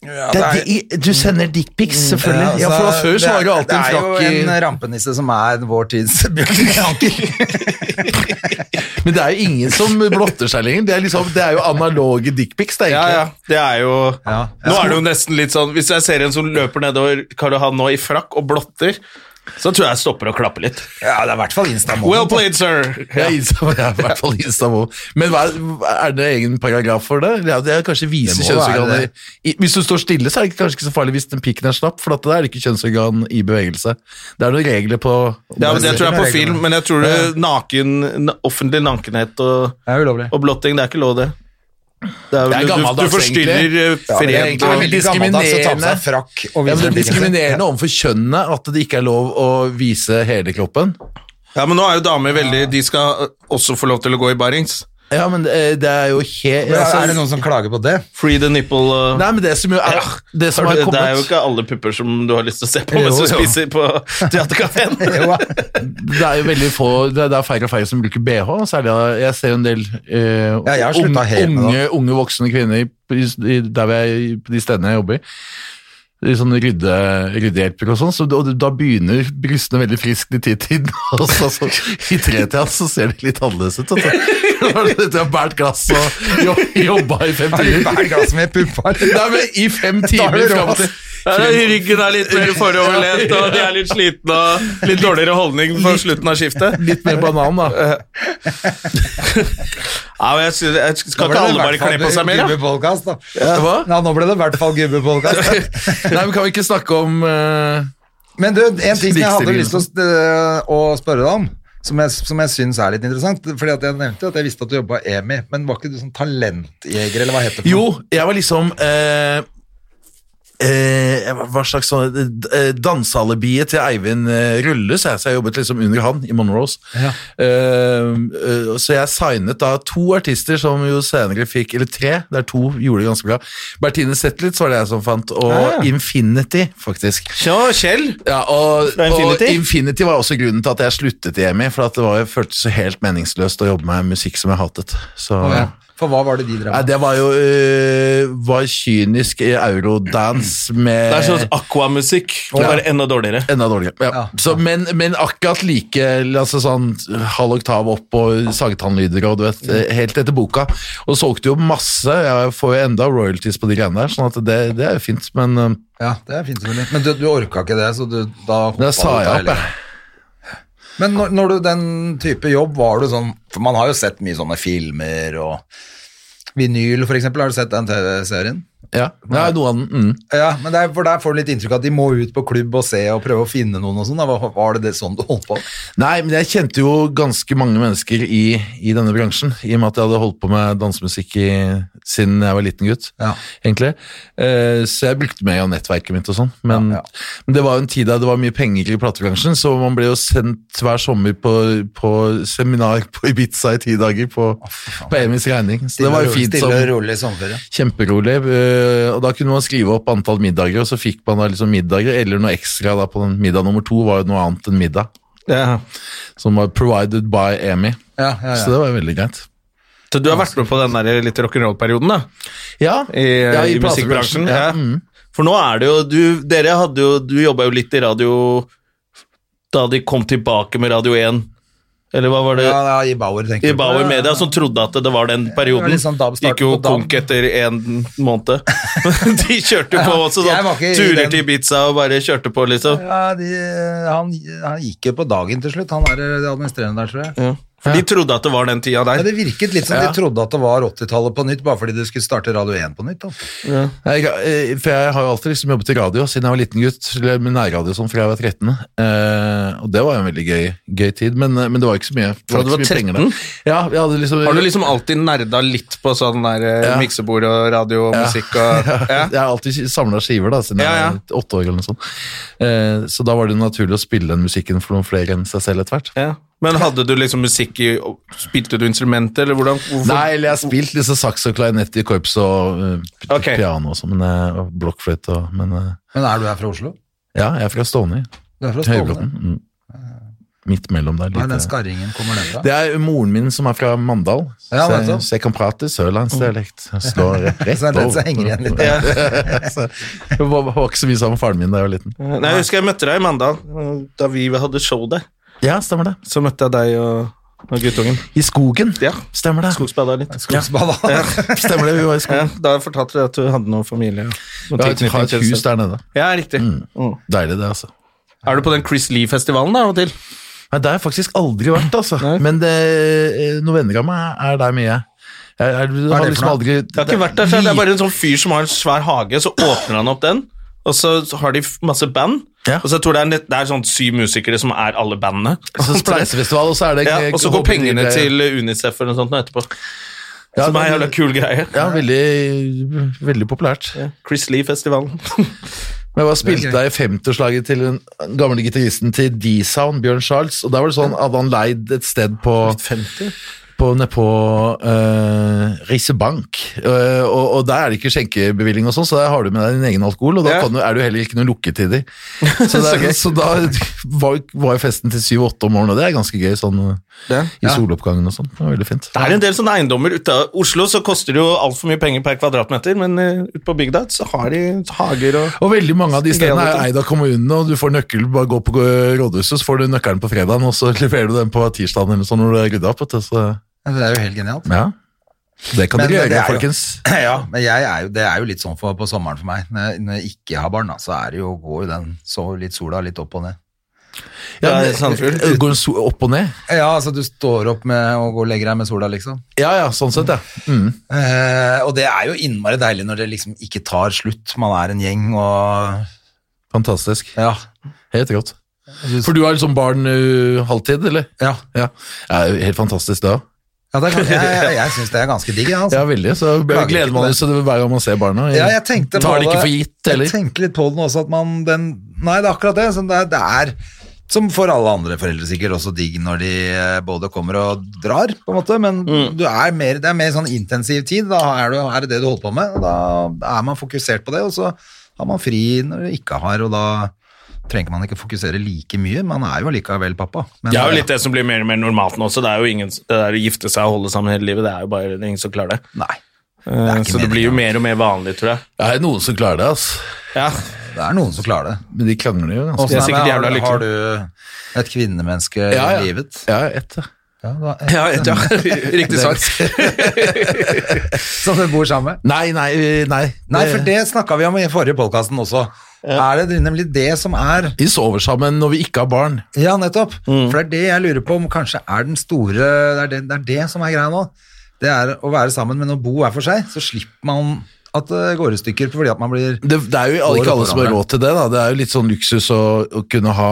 ja,
Det er di- Du sender dickpics, selvfølgelig. Ja, for da
altså,
før så var det jo alltid en
Det er jo en
flakk i
rampenisse som er vår tids Bjørn Anker.
Men det er jo ingen som blotter seg lenger. Det er, liksom, det er jo analoge dickpics, det, er
Ja,
egentlig.
ja. Det er jo
Ja.
Nå er det jo nesten litt sånn Hvis jeg ser en som løper nedover Karl Johan nå i frakk og blotter, så tror jeg jeg stopper å klappe litt.
Ja, det er i hvert fall Instamoen.
Well played, sir!
Ja, Insta, det er i hvert fall Instamo. Men hva, er det egen paragraf for det? Ja, det er kanskje vise
Det må
kjønnsorganer
være det.
i- Hvis du står stille, så er det kanskje ikke så farlig hvis den pikken er slapp, for at da er det ikke kjønnsorgan i bevegelse. Det er noen regler på
Ja, men Det tror jeg er på film, men jeg tror det
Ja.
naken, na- offentlig nakenhet og,
Det er ulovlig.
og blotting, det er ikke lov, det. Det er,
Det er
vel- du, du
gammeldags,
Ja,
forstyrrer eh,
men det er
fred
egentlig
og
veldig gammeldags å ta på seg frakk. og
Ja, men
vise
Det
pikken
er
sin.
diskriminerende overfor kjønnet at det ikke er lov å vise hele kroppen.
Ja, men nå er jo damer veldig De skal eh, også få lov til å gå i barings.
Ja, men eh, det er jo helt
Men
altså,
er det noen som klager på det?
Free the nipple. eh,
Nei, men det som jo er, det som
Har
er
du- det er jo
kommet
ikke alle pupper som du har lyst til å se på mens
Jo,
du
jo.
spiser på teaterkafeen.
Jo,
Det er jo veldig få Det er det er færre og færre som bruker BH. Særlig av- Jeg ser jo en del eh,
Ja, jeg har sluttet helt med
unge, unge voksne kvinner på- i- der hvor jeg, på de stedene jeg jobber. i Sånne rydde, ryddehjelper og sånn. Så, da- og da begynner brystene veldig friskt i titiden. Og så, så, I tretida så ser det litt annerledes ut. Altså. Jeg har båret glass og jo- jobba i fem
Har du
timer.
hver glass med pupper?
Nei, men I fem timer
det
fram
rått.
til
Ja, Ryggen er litt mer foroverlent, og de er litt slitne og litt dårligere holdning på slutten av skiftet.
Litt mer banan, da.
Ja, men jeg, synes, jeg skal ikke alle bare kle på seg mer, da?
Gubbepodkast, da.
Hva?
Ja, nå ble det i hvert fall gubbepodkast.
Nei, men Kan vi ikke snakke om eh,
Men du, en ting som jeg hadde
Likestilling.
lyst til å, øh, å spørre deg om, som jeg, som jeg syns er litt interessant Fordi at jeg nevnte at jeg visste at du jobba i EMI, men var ikke du sånn talentjeger, eller hva het det? for noe?
Jo, jeg var liksom eh, eh, jeg var- Hva slags sånn eh, Dansealibiet til Eivind eh, Rulle, så jeg, så jeg jobbet liksom under han i Monroes.
Ja.
Eh, eh, så jeg signet da to artister som jo senere fikk Eller tre, der to gjorde det ganske bra. Bertine Zetlitz var det jeg som fant, og
Ah.
Infinity, faktisk.
Ja, Kjell.
Ja, og,
Fra Infinity?
og Infinity var også grunnen til at jeg sluttet i EMI, for at det var, jeg føltes så helt meningsløst å jobbe med musikk som jeg hatet. Så...
Å, ja. For hva var det de drev
Nei,
med?
det var jo øh, var kynisk i eurodance med
Det er sånn aquamusikk, men bare enda dårligere.
Enda dårligere. Ja.
Ja.
Så, men, men akkurat like altså sånn halv oktav opp og sagetannlyder og du vet,
Mm.
helt etter boka. Og solgte jo masse. Jeg får jo enda royalties på de greiene der, sånn at det, det er jo fint. Men øh,
Ja, det er fint selvfølgelig. Men du, du orka ikke det, så du, da hoppa
da
du
sa
ut av
jeg
hele
opp, jeg.
Men når, når du den type jobb, var du sånn For man har jo sett mye sånne filmer og Vinyl, for eksempel. Har du sett den TV-serien?
Ja. Nei, noe av den. Mm.
Ja, men der, for der får du litt inntrykk av at de må ut på klubb og se og prøve å finne noen og sånn. da. Var, var det det sånn du holdt på?
Nei, men jeg kjente jo ganske mange mennesker i, i denne bransjen, i og med at jeg hadde holdt på med dansemusikk i, siden jeg var liten gutt,
Ja.
egentlig. Eh, så jeg brukte meg av nettverket mitt og sånn, men,
Ja, ja.
men det var jo en tid da det var mye penger i platebransjen, så man ble jo sendt hver sommer på, på seminar på Ibiza i ti dager på, på Emis regning. Så det var jo fint
Stille og
som
rolig sommerferie.
Kjemperolig. eh, Og da kunne man skrive opp antall middager, og så fikk man da liksom middager, eller noe ekstra da på den middag nummer to, var jo noe annet enn middag
Ja.
som var provided by EMI.
Ja, ja,
Så
ja.
det var veldig greit.
Så du har vært med på den der litt rock'n'roll-perioden, da?
Ja,
I,
ja,
i musikkbransjen? Ja.
Ja. Mm.
For nå er det jo Du, dere hadde jo, du jobba jo litt i radio da de kom tilbake med Radio 1, eller hva var det?
ja, ja, I Bauer, tenker
I
du på. Ja,
Bauer
ja.
Media, som trodde at det var den perioden.
Det var litt sånn dab- starten
Gikk jo
på dab.
konk etter en måned. de kjørte jo på
Ja,
også
jeg
sånn
var ikke i
turer
den-
til Ibiza og bare kjørte på, liksom.
Ja, de, han, han gikk jo på dagen til slutt, han er eh, administrerende der, tror jeg.
For de trodde at det var den
Ja,
tida der.
det virket litt som
Ja.
de trodde at det var 80-tallet på nytt, bare fordi du skulle starte Radio 1 på nytt. Da.
Jeg, eh, for jeg har jo alltid liksom jobbet i radio siden jeg var liten gutt, eller med nærradio sånn fra jeg var 13. Eh, og det var jo en veldig gøy, gøy tid, men, eh, men det var ikke så mye. Det
Fra du
ikke så
var
mye penger der.
13?
Ja, jeg hadde liksom...
Har du liksom alltid nerda litt på sånn der eh,
Ja.
miksebord og radio og musikk og ja.
Jeg har alltid samla skiver da, siden
Ja, ja.
jeg var åtte år. eller noe sånt. Eh, så da var det naturlig å spille den musikken for noen flere enn seg selv etter hvert.
ja. Men hadde du liksom musikk i Spilte du instrumenter, eller hvordan? Hvorfor?
Nei, eller jeg har spilt liksom saks og klarinett i korps og eh,
Ok.
piano og sånn, men, eh, og blokkfløyte og Men eh,
Men er du her fra Oslo?
ja, jeg er fra Stovner.
Du er fra Stovner?
Høybråten. Mm. Midt mellom der.
Nei, den
Lite.
skarringen kommer den fra.
Det er moren min som er fra Mandal,
Ja, nettopp.
så,
Mm.
jeg, så jeg kan prate sørlandsdialekt. Jeg Slår rett
Så det er den som henger igjen litt.
så, jeg var, var ikke så mye sammen med faren min da jeg var liten.
Nei, jeg husker jeg møtte deg i Mandal, eh, da vi hadde show der.
Ja, stemmer det.
Så møtte jeg deg og, og guttungen.
I skogen.
Ja.
Stemmer det.
Skogsbada litt.
Skogsbada.
Stemmer det, vi var
Ja,
i skogen.
da fortalte du at du hadde noen familie. Noen
Ja, jeg har et hus der nede.
Ja, riktig. Mm.
Deilig, det, altså.
Er du på den Chris Lee-festivalen da, av og til?
Nei, det har jeg faktisk aldri vært, altså. Men det, eh, noen venner av meg er der mye. Jeg, jeg,
Hva er
jeg, har
det for
liksom
noe?
aldri
Jeg har ikke vært der, så det er bare en sånn fyr som har en svær hage, så åpner han opp den, og så har de f- masse band,
Ja.
og så tror jeg det er, nett- det er sånn syv musikere som er alle bandene.
Og så Altså, Spleisefestival, og så er det
Ja, og så går pengene til UNICEF eller noe sånt nå etterpå.
Ja,
som er en
det-
jævla kul greie.
Ja, veldig, veldig populært.
Chris Lee-festivalen.
Men jeg var spilte der i 50-årslaget til den gamle gitaristen til D-Sound, Bjørn Charles, og der var det sånn at han leid et sted på, på nedpå uh, Risebank, Eh, og, og der er det ikke skjenkebevilling og sånn, så der har du med deg din egen alkohol, og da
Ja.
kan du, er du heller ikke noen lukketider. Så, det er- så da var, var jo festen til 7-8 om morgenen, og det er ganske gøy sånn
Ja.
i soloppgangen og sånn. Det var veldig fint.
Det er en del sånne eiendommer ute av Oslo, så koster det jo altfor mye penger per kvadratmeter, men eh, ute på bygda så har de hager og
Og veldig mange av de stedene
Gøy,
er
vet
eid av kommunene, og du får nøkkel, bare gå på rådhuset, så får du nøkkelen på fredagen, og så leverer du den på tirsdagen eller sånn når du er rydda opp. Vet du. Så,
Det er jo helt genialt.
ja. Det kan
Men det
dere gjøre,
er jo-
folkens.
Ja, men jeg er jo, det er jo litt sånn for, på sommeren for meg. Når jeg, når jeg ikke har barn, da, så er det jo, går jo den så litt sola litt opp og ned.
Ja,
Det er
men- eh,
Sandefjord.
Går den so- opp og ned?
Ja, altså du står opp med og går og legger deg med sola, liksom.
Ja, ja, sånn sett, ja. Mm.
Eh, og det er jo innmari deilig når det liksom ikke tar slutt. Man er en gjeng og
Fantastisk.
Ja.
Helt rått. For du er liksom barn ø, halvtid, eller?
Ja.
Ja. ja helt fantastisk da.
Ja, det er, gans- jeg jeg, jeg syns det er ganske digg. jeg, Altså.
Ja, veldig. Så
Klager
gleder
ikke
man
på
seg til hver gang man ser barna.
Ja, jeg tenkte på
Tar det ikke for gitt,
Jeg
eller?
tenkte litt på den også, at man den Nei, det er akkurat det. Som det, er, det er som for alle andre foreldre sikkert også digg når de eh, både kommer og drar, på en måte, men
Mm.
du er mer, det er mer sånn intensiv tid. Da er, du, er det det du holder på med, og da er man fokusert på det, og så har man fri når du ikke har, og da trenger man ikke fokusere like mye. Man er jo allikevel pappa. Men,
Det er jo litt det som blir mer og mer normalt nå også. Det er jo ingen, det der å gifte seg og holde sammen hele livet, det er jo bare det er ingen som klarer det.
Nei.
Eh,
ikke
så det
meningen,
blir jo
altså.
mer og mer vanlig, tror jeg.
Det er noen som klarer det, altså.
Ja,
Det er noen som klarer det.
Men de krangler jo ganske
Det
Nei,
er
men
sikkert
har,
jævla
du-
lykkelig.
har du et kvinnemenneske
Ja, ja.
i livet?
Ja, ett, ja.
Ja, da,
riktig sagt.
Som du bor sammen med?
Nei, nei, ø, nei.
Nei, for det snakka vi om i forrige podkasten også. Er det nemlig det som er
De sover sammen når vi ikke har barn.
Ja, nettopp.
Mm.
For det er det jeg lurer på om kanskje er den store Det er det, det, er det som er greia nå. Det er å være sammen, men å bo hver for seg, så slipper man at det går i stykker fordi at man blir
Det, det er jo
Går
ikke alle
det
som har
foran
råd til det, da. Det er jo litt sånn luksus å, å kunne ha,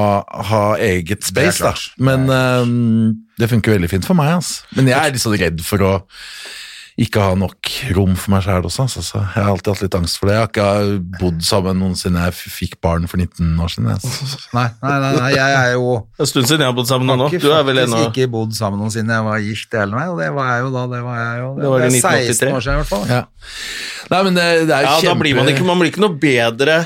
ha eget space, da.
klart.
Men øhm, det funker veldig fint for meg, altså. Men jeg er litt sånn redd for å ikke ha nok rom for meg sjæl også, altså. Så jeg har alltid hatt litt angst for det. Jeg har ikke bodd sammen noensinne jeg f- fikk barn for 19 år siden. Altså.
Nei, nei, nei, nei jeg er jo
Det er en stund siden jeg har bodd sammen med
har
noen nå.
ikke
Du er vel
faktisk
ennå
ikke bodd sammen noen siden jeg var gift hele veien, og det var jeg jo da. Det var jeg jo
Det var i
er
1983.
16 år siden, i hvert fall.
Ja. Nei, men det, det er jo
Ja,
kjempe...
da blir man ikke Man blir ikke noe bedre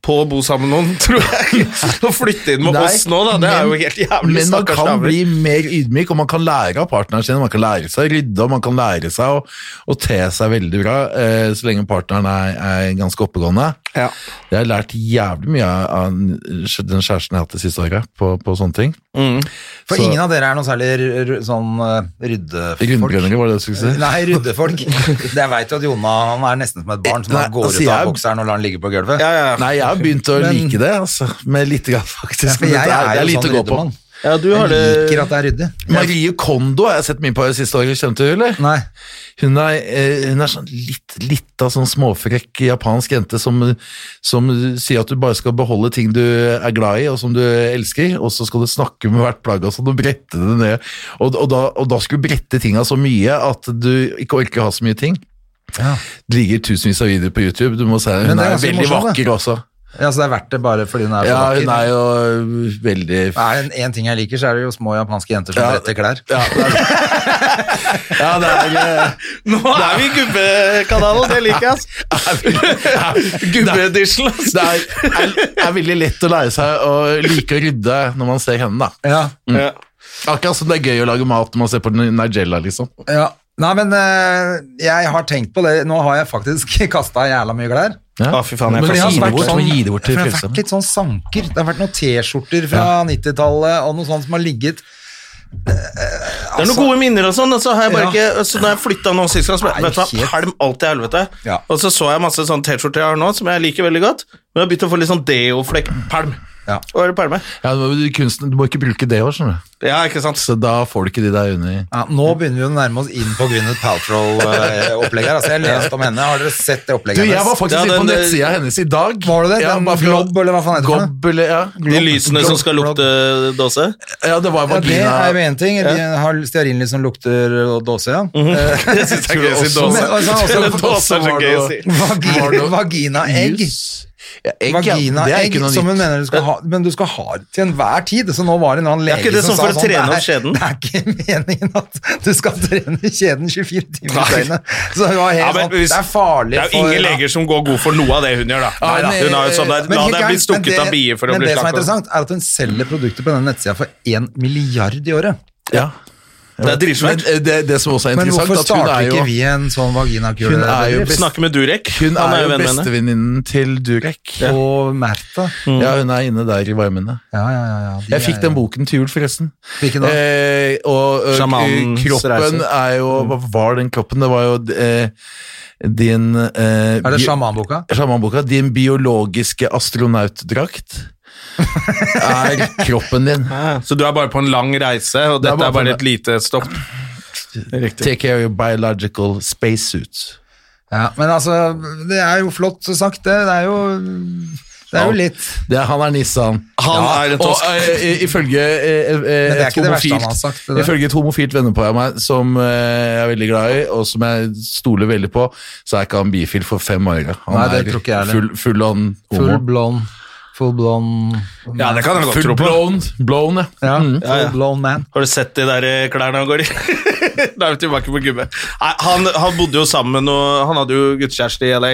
på å bo sammen med noen, tror jeg. Å flytte inn med
Nei,
oss nå, da, det er jo
men-
helt jævlig.
Men man
stakkars
kan
damer.
bli mer ydmyk, og man kan lære av partneren sin. Man kan lære seg å rydde, og man kan lære seg å, å te seg veldig bra, eh, så lenge partneren er, er ganske oppegående.
Ja.
Jeg har lært jævlig mye av- av den kjæresten jeg har hatt det siste året, på, på sånne ting.
For
Så-
ingen av dere er noe særlig r- r- sånn eh, ryddefolk.
Rundbrennere, var det det du skulle si?
Nei, ryddefolk. Det veit jo at Jonna han er nesten som et barn som
Nei,
han går ut
altså,
av
jeg-
bokseren og lar den ligge på gulvet.
Ja, ja, ja.
Nei, jeg har begynt å
Men-
like det, altså. Med lite grann, faktisk.
For
Men
jeg
dette
er
det
jo
lite
sånn
å gå på.
ryddemann.
ja, du
Jeg
har
liker
det
at det er ryddig.
Marie Kondo har jeg sett mye på det siste året, kjente du, eller?
Nei.
Hun er, eh, hun er sånn litt, litt av sånn småfrekk japansk jente som, som sier at du bare skal beholde ting du er glad i og som du elsker, og så skal du snakke med hvert plagg og sånn og brette det ned. Og, og, da, og da skal du brette tinga så mye at du ikke orker å ha så mye ting.
Ja.
Det ligger tusenvis av videoer på YouTube, du må se.
Men
Hun
det er
er,
ganske
veldig
morsomt, da.
vakker også.
Ja, Så det er verdt det bare fordi hun er så
Ja, hun
vakker.
er jo veldig
Er det én ting jeg liker, så er det jo små japanske jenter som
Ja.
bretter klær.
Ja, det er, ja, det er eh,
Nå er vi i gubbekanalen, det liker jeg. ass. Gubbeedition, ass.
det er, er, er veldig lett å lære seg å like å rydde når man ser henne, da.
Ja,
Ja.
Akkurat som det er gøy å lage mat når man ser på Nigella, liksom.
ja. Nei, men eh, jeg har tenkt på det. Nå har jeg faktisk kasta jævla mye klær.
Ja.
Å, fy faen, jeg
Men
får
det
har
har
gi det
vært
bort.
sånn- gi det bort
for
til
det har vært
frelseren.
litt sånn sanker. Det har vært noen T-skjorter fra 90-tallet og noe sånt som har ligget
Det er noen gode minner og sånn, og så har jeg bare
Altså- Ja.
ikke så Når jeg flytta nå sist gang, så
Nei,
ble- vet du hva,
helt-
pælm alt til helvete.
Ja.
Og så så jeg masse sånn T-skjorter jeg har nå, som jeg liker veldig godt, men jeg har begynt å få litt sånn deo-flekk-pælm.
Ja.
Hva er det pælme?
Ja, men du, kunsten, du må ikke bruke det òg, skjønner du.
Ja, ikke sant?
Så da får du ikke de der under.
Ja, nå begynner vi å nærme oss inn på Gwyneth Paltrow-opplegget. Altså, jeg leste om henne. Har dere sett det
Du,
opplegget
jeg var faktisk
Ja,
inne på
den- eh,
nettsida hennes i dag.
Var det det?
Ja,
Den
bare for å-
Glob, eller hva faen heter den?
Glob, eller, ja.
De lysene som skal lukte dåse.
ja, det
Ja,
var
det
vagina.
er jo én ting. De har stearinlys som lukter og dåse, ja.
Mhm.
Eh,
Jeg syns det er gøy å si
Tror du
dåse.
Men, altså, også-
Men Dåse er så gøy å si.
Var det-
Vagina- Vaginaegg.
Jus. Ja, egg, ja. Det er
Vaginaegg
ikke noe
som hun
nytt.
mener du skal ha, men du skal ha det til enhver tid. Så nå var det en annen
Er ikke
lege
det
som
sånn
sa
for å
sånn,
trene
det
opp
er-
kjeden?
Det er ikke meningen at du skal trene kjeden 24 timer i
Nei.
døgnet. Så det var helt
Ja, men
sånn,
hvis-
det er farlig
Det er jo ingen
for
leger som går god for noe av det hun gjør, da.
Nei, da.
Hun har jo sånn der,
Men
La
helt
deg bli
gærent, men
stukket
det-
av bier for å
Men
bli
det som er
slaktet.
interessant, er at hun selger produkter på den nettsida for 1 milliard i året.
Ja.
Det er dritsvært.
Men, eh, det, det som også er
Men
interessant,
hvorfor
at hun
starter
er
ikke
jo
vi en sånn vaginakule?
Hun er jo
bedrift?
best-
Snakke med Durek.
Hun
Han
er jo
venn med henne.
bestevenninnen til Durek.
Og Märtha.
Ja, hun er inne der i varmene.
Ja, ja, ja, ja. De
Jeg fikk
er-
den boken til jul, forresten.
Hvilken da?
Eh, og ø, eh,
Sjamanens
kroppen
reise.
er jo Hva var den kroppen? Det var jo eh, din
Er
eh,
det
bio-
sjamanboka?
Sjamanboka. Din biologiske astronautdrakt er kroppen din.
Ja, Så du er bare på en lang reise, og
Det er
dette
bare
er bare
på en-
et lite stopp. Riktig.
Take care of your biological spacesuit.
Ja, men altså, det er jo flott sagt, det. Det er jo Det er jo litt
Det er, han er nissan.
Han er en tosk.
Og, eh, ifølge eh, eh,
Men det er
et
ikke det verste han
homofilt-
har sagt, det der.
Ifølge et homofilt vennepar av meg som eh, jeg er veldig glad i, og som jeg stoler veldig på, så er ikke han bifil for fem øre. Han
Nei, det
er
tror ikke jeg heller.
full, full on
full
homo.
blond Full blown
Ja, det kan jeg godt
Full
tro på.
blown, blown, ja.
ja,
Mm.
Ja, ja.
Full blown man.
Har du sett de der eh, klærne han går i? da er vi tilbake på gubbe. Nei, han, han bodde jo sammen med noe Han hadde jo guttekjæreste i LA.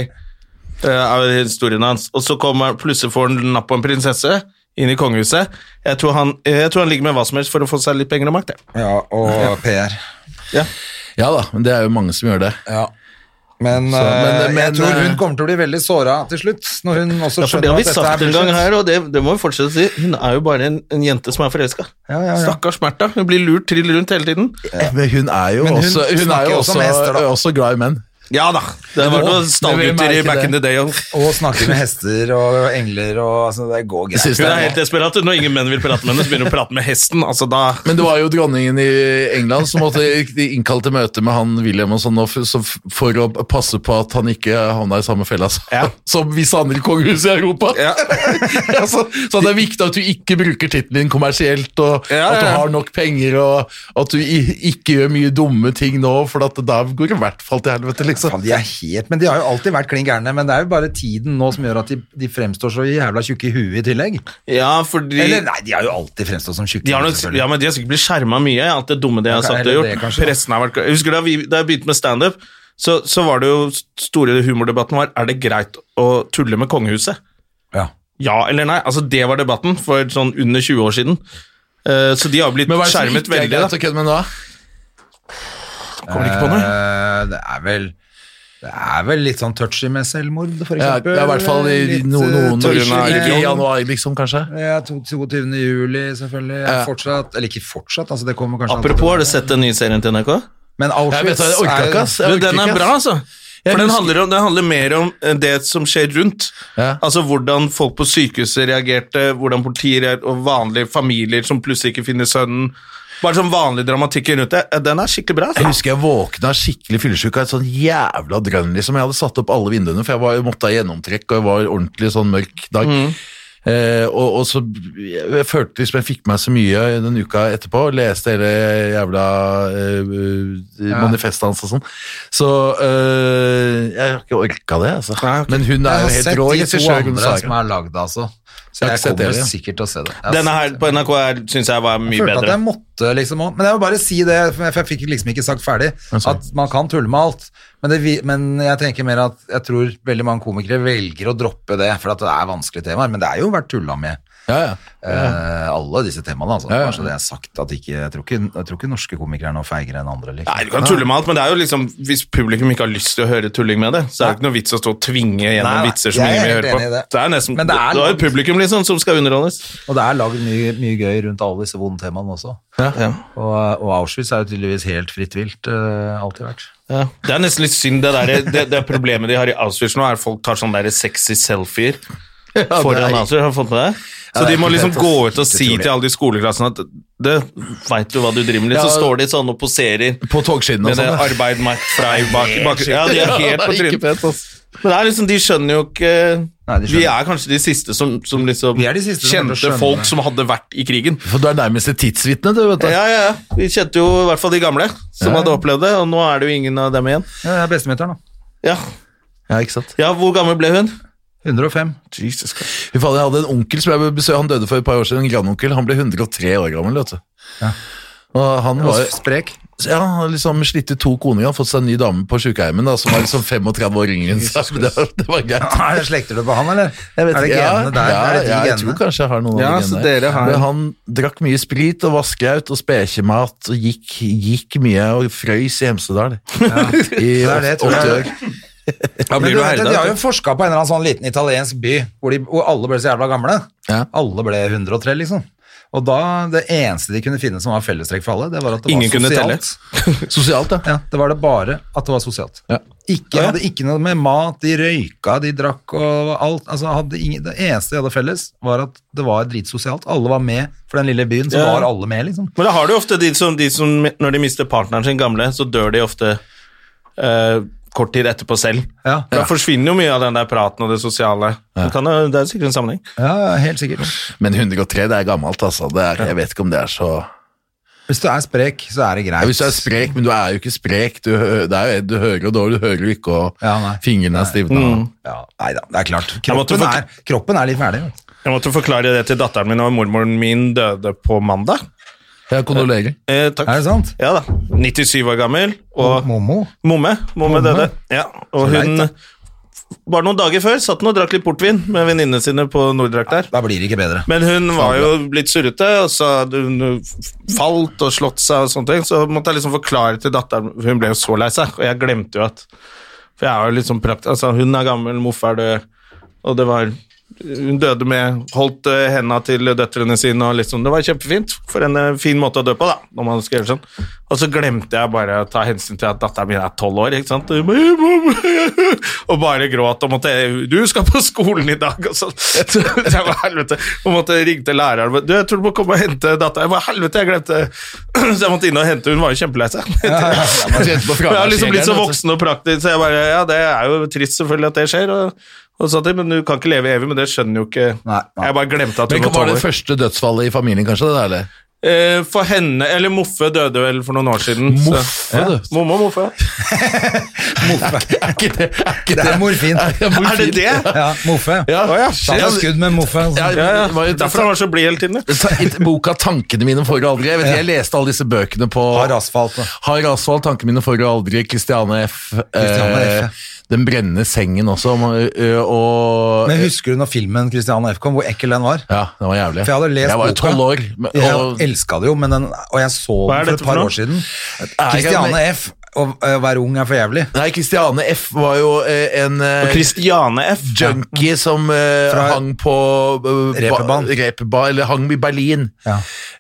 eh, er jo historien hans. Og så kommer han, plutselig får han napp på en prinsesse inn i kongehuset. Jeg tror, han, eh, jeg tror han ligger med hva som helst for å få seg litt penger og makt. jeg.
Ja, og PR.
Ja da, men det er jo mange som gjør det.
Ja. Men,
Så, men-
eh,
men,
jeg tror hun
eh,
kommer til å bli veldig såra til slutt, når hun også
Ja, for det
skjønner
har vi
at dette er
sagt en gang
bullshit.
her, og det, det må vi fortsette å si. Hun er jo bare en, en jente som er forelska.
Ja, ja, ja.
Stakkars Märtha. Hun blir lurt trill rundt hele tiden.
Eh, Men hun er jo
Men hun
også, hun er
snakker
jo
jo
også, eh,
som hester, da.
også glad i menn.
Ja da. Det var noen
Nå, men vi
stallgutter
merker
i back
det.
in the day. og-
Og snakker med hester og engler og altså, Det går
Jeg synes
greit.
Hun
det
er helt desperat. Når ingen menn vil prate med henne, så begynner hun å prate med hesten. Altså da
Men det var jo dronningen i England som måtte de innkalte møte med han William og sånn, og f- så f- for å passe på at han ikke havna i samme fella som-
Ja.
som visse andre kongehus i Europa.
Ja.
altså, så det er viktig at du ikke bruker tittelen din kommersielt, og
Ja, ja,
at du
ja.
har nok penger, og at du i- ikke gjør mye dumme ting nå, for at da går det i hvert fall til helvete, liksom.
Faen, de er helt, men de har jo alltid vært klin gærne, men det er jo bare tiden nå som gjør at de, de fremstår så jævla tjukke i huet i tillegg.
Ja, fordi
Eller nei, de har jo alltid fremstått som tjukke.
de har, nok,
selvfølgelig.
ja, men de har sikkert blitt skjerma mye. Alt det dumme de har
Ja,
sagt og
eller det,
gjort.
kanskje, da.
Pressen har vært Jeg husker da, vi, da jeg begynte med standup, så, så var det jo store humordebatten var Er det greit å tulle med kongehuset.
ja.
Ja eller nei? Altså Det var debatten for sånn under 20 år siden. Eh, så de har blitt
Men hva er det som
skjermet
ikke er
veldig.
greit
Da.
å kødde med nå?
Kommer ikke på noe.
Eh, det er vel det er vel litt sånn touchy med selvmord, for
Ja,
eksempel.
ja, i hvert fall i
Litt,
noen,
eh,
noen
touchy
Ikke i
med-
januar, liksom, kanskje?
Ja, to- 22. juli, selvfølgelig.
Ja.
Fortsatt, eller ikke fortsatt, altså det kommer kanskje
Apropos, har du sett den nye serien til NRK?
Men
Jeg
Auschwitz
vet det, jeg orker
er-
ikke, ass. Jeg
Du,
orker
den
ikke,
er
ass.
bra, altså.
Jeg
For den
husker-
handler, om, den handler mer om eh, det som skjer rundt.
Ja.
Altså hvordan folk på sykehuset reagerte, hvordan politiet reagerte, og vanlige familier som plutselig ikke finner sønnen. Bare sånn vanlig dramatikk rundt det. Eh, Den er skikkelig bra.
Jeg
Altså.
husker jeg våkna skikkelig fyllesyk av et sånn jævla drønn. liksom. Jeg hadde satt opp alle vinduene, for jeg var, måtte ha gjennomtrekk, og jeg var ordentlig sånn mørk dag. Eh, og, og så jeg, jeg følte liksom jeg fikk meg så mye den uka etterpå, og leste hele jævla eh, manifestet hans og sånn. Så eh, jeg har ikke orka det, altså.
Nei, ok.
Men hun
Jeg
er
har
jo
sett
helt rå
de to
regissør, hun
andre som
Sara.
er lagd, altså. Så
Jeg har
jeg,
ikke sett
kommer
det, ja.
sikkert til å se det. Jeg
Denne
har
her på NRK syns jeg var mye
følte at
bedre.
jeg måtte liksom også- Men jeg vil bare si det, for jeg- for jeg fikk liksom ikke sagt ferdig,
sorry.
at man kan tulle med alt. Men, det, vi- men jeg tenker mer at jeg tror veldig mange komikere velger å droppe det, for at det er vanskelige temaer. Men det er jo vært tulla med.
Ja, ja.
eh, alle disse temaene, altså.
Ja, ja.
Kanskje det er sagt at ikke jeg, tror ikke jeg tror ikke norske komikere er noe feigere enn andre. Liksom.
Nei, du kan tulle med alt, men det er jo liksom, hvis publikum ikke har lyst til å høre tulling med det, så er det ikke noe vits å stå og tvinge gjennom
Nei, nei,
vitser som
jeg er
ingen vil
helt
høre på.
enig i det.
Det er nesten,
Men
det
det er
er, jo
langt.
publikum liksom som skal underholdes.
Og det er lagd mye, mye gøy rundt alle disse vonde temaene også.
Ja.
Og, og Auschwitz er jo tydeligvis helt fritt vilt, eh, alltid vært.
Ja. Det er nesten litt synd, det, der, det, det problemet de har i Auschwitz nå, er at folk tar sånne der sexy selfier foran Auschwitz. Har du fått med det? Så
det er
de må
helt
liksom
ass.
gå ut og si
Utrolig.
til alle de skoleklassene at det, veit du hva du driver med?
Ja.
Så står de sånn og poserer
På togskinnene
med
og
det
sånn.
eh, arbeid Mark Frey bak, bak Ja, de er helt på
ikke
trynet.
pent, altså.
Men det er liksom, de skjønner jo ikke
Nei, de skjønner.
Vi er kanskje de siste som, som liksom
Vi er de siste som kommer til
kjente
å skjønne
folk
det.
som hadde vært i krigen.
For du er nærmest et tidsvitne, du, vet du.
Ja, ja, ja. Vi kjente jo i hvert fall de gamle som hadde opplevd det, og nå er det jo ingen av dem igjen.
Ja, det er bestemutteren, da.
Ja,
Ja, ikke sant?
ja hvor gammel ble hun?
105.
Jesus Christ.
Fy faen, jeg hadde en onkel som jeg besøkte, han døde for et par år siden, en grandonkel, han ble 103 år gammel, vet du. Og han var,
Sprek.
ja, han hadde liksom slitt ut to koner, han hadde fått seg en ny dame på sykeheimen, da, som var liksom 35 år yngre enn seg, men det, var- det var greit.
Er det slekter du på han, eller? er det genene der?
Ja,
er det de
ja, jeg tror
genene?
kanskje jeg har noen
Ja,
av de
så
genene.
dere har-
Men Han drakk mye sprit og vaskeaut og spekjemat og gikk, gikk mye og frøys i Hemsedal. I
Ja, det tror
80
jeg.
år.
Da
Men du
blir du
vet, at
herda.
de har
vet
jo
du.
forska på en eller annen sånn liten italiensk by hvor, de, hvor alle ble så jævla gamle.
Ja.
Alle ble 103, liksom. Og da, det eneste de kunne finne som var fellestrekk for alle, det var at det
Ingen
var
kunne telle.
sosialt.
Sosialt, ja.
Ja, det var det bare at det var sosialt.
Ja.
Ikke, hadde ikke noe med mat, de røyka, de drakk og alt. Altså, hadde ingen, det eneste de hadde felles, var at det var dritsosialt. Alle var med for den lille byen, så
Ja.
var alle med, liksom.
Men da har du ofte de som, de som når de mister partneren sin gamle, så dør de ofte eh, kort tid etterpå selv.
Ja.
Da forsvinner jo mye av den der praten og det sosiale. Det, kan, jo- det er sikkert en sammenheng.
Ja, helt sikkert.
Men 103, det er gammelt, altså. Det er, jeg vet ikke om det er så
Hvis du er sprek, så er det greit.
ja, Hvis du er sprek, men du er jo ikke sprek. Du, hø- det er jo, du hører jo dårlig, du hører jo ikke, og
Ja, nei.
fingrene er stivna.
Mm.
Ja, nei da, det er klart.
Jeg måtte
Kroppen,
forkl-
er, kroppen er litt ferdig. vet du.
Jeg måtte forklare det til datteren min, og mormoren min døde på mandag.
Jeg kondolerer.
Eh, takk.
Er det sant?
Ja da. 97 år gammel. Og
Momo?
Momme. Momme døde. Ja, og
Så leit,
hun
da.
Bare noen dager før satt hun og drakk litt portvin med venninnene sine på Norddrakt der.
Da blir det ikke bedre.
Men hun var jo blitt surrete, og så hadde hun falt og slått seg og sånne ting. Så måtte jeg liksom forklare til datteren Hun ble jo så lei seg, og jeg glemte jo at For jeg er jo litt sånn prakt... Altså, hun er gammel, morfar er død, og det var Hun døde med Holdt eh, henda til døtrene sine og liksom Det var kjempefint. For en eh, fin måte å dø på, da, når man skal gjøre sånn. Og så glemte jeg bare å ta hensyn til at datteren min er tolv år, ikke sant. Og hun bare, Og bare gråt og måtte Du skal på skolen i dag, og sånn. Så jeg var helvete. Og måtte ringe til læreren. men, Du, jeg tror du må komme og hente datteren. Jeg var helvete, jeg glemte Så jeg måtte inn og hente Hun var jo kjempelei seg.
Man kjente på altså.
Men Jeg har liksom blitt så
fraværsregelen,
voksen og praktisk, så jeg bare Ja, det er jo trist selvfølgelig at det skjer, og, og sånt, men du kan ikke leve evig, men det skjønner jo ikke
Nei, nei.
Jeg bare glemte at
Men
hun
hva
var
var det
tolv år.
første dødsfallet i familien, kanskje? Det der, eller?
Eh, For henne Eller Moffe døde vel for noen år siden. så-
Moffe, du.
Momma og Moffe.
Er ikke det er ikke
Det er morfin.
det morfin?
Er det det?
Ja, Moffe.
Ja.
Å ja,
Ta
shit.
deg skudd med altså. Moffe.
Ja,
Ja, ja.
det var jo-
Derfor han var så blid hele tiden. ja.
Ta- i Boka 'Tankene mine for og aldri'. Jeg, vet, ikke, jeg leste alle disse bøkene på
Har asfalt. da.
Har asfalt, tankene mine for og aldri, Christiane F. eh,
Christiane F, ja.
Den brennende sengen også. om, ø, Og
Men husker du når filmen Christian F. kom, hvor ekkel den var?
Ja, den var jævlig.
For jeg hadde lest
Jeg var jo
boka.
tolv år. men- og-
Jeg elska det jo, men den, og jeg så
Hva er
den for
dette
et
for
par
noe?
år siden.
jeg-
Christiane F. Å å være ung er for jævlig.
Nei, Christiane F. var jo ø, en ø,
Og Christiane F.
junkie som ø,
Fra-
hang på ø, ba-
Reeperbahn.
Reeperbahn, Eller hang i Berlin.
Ja.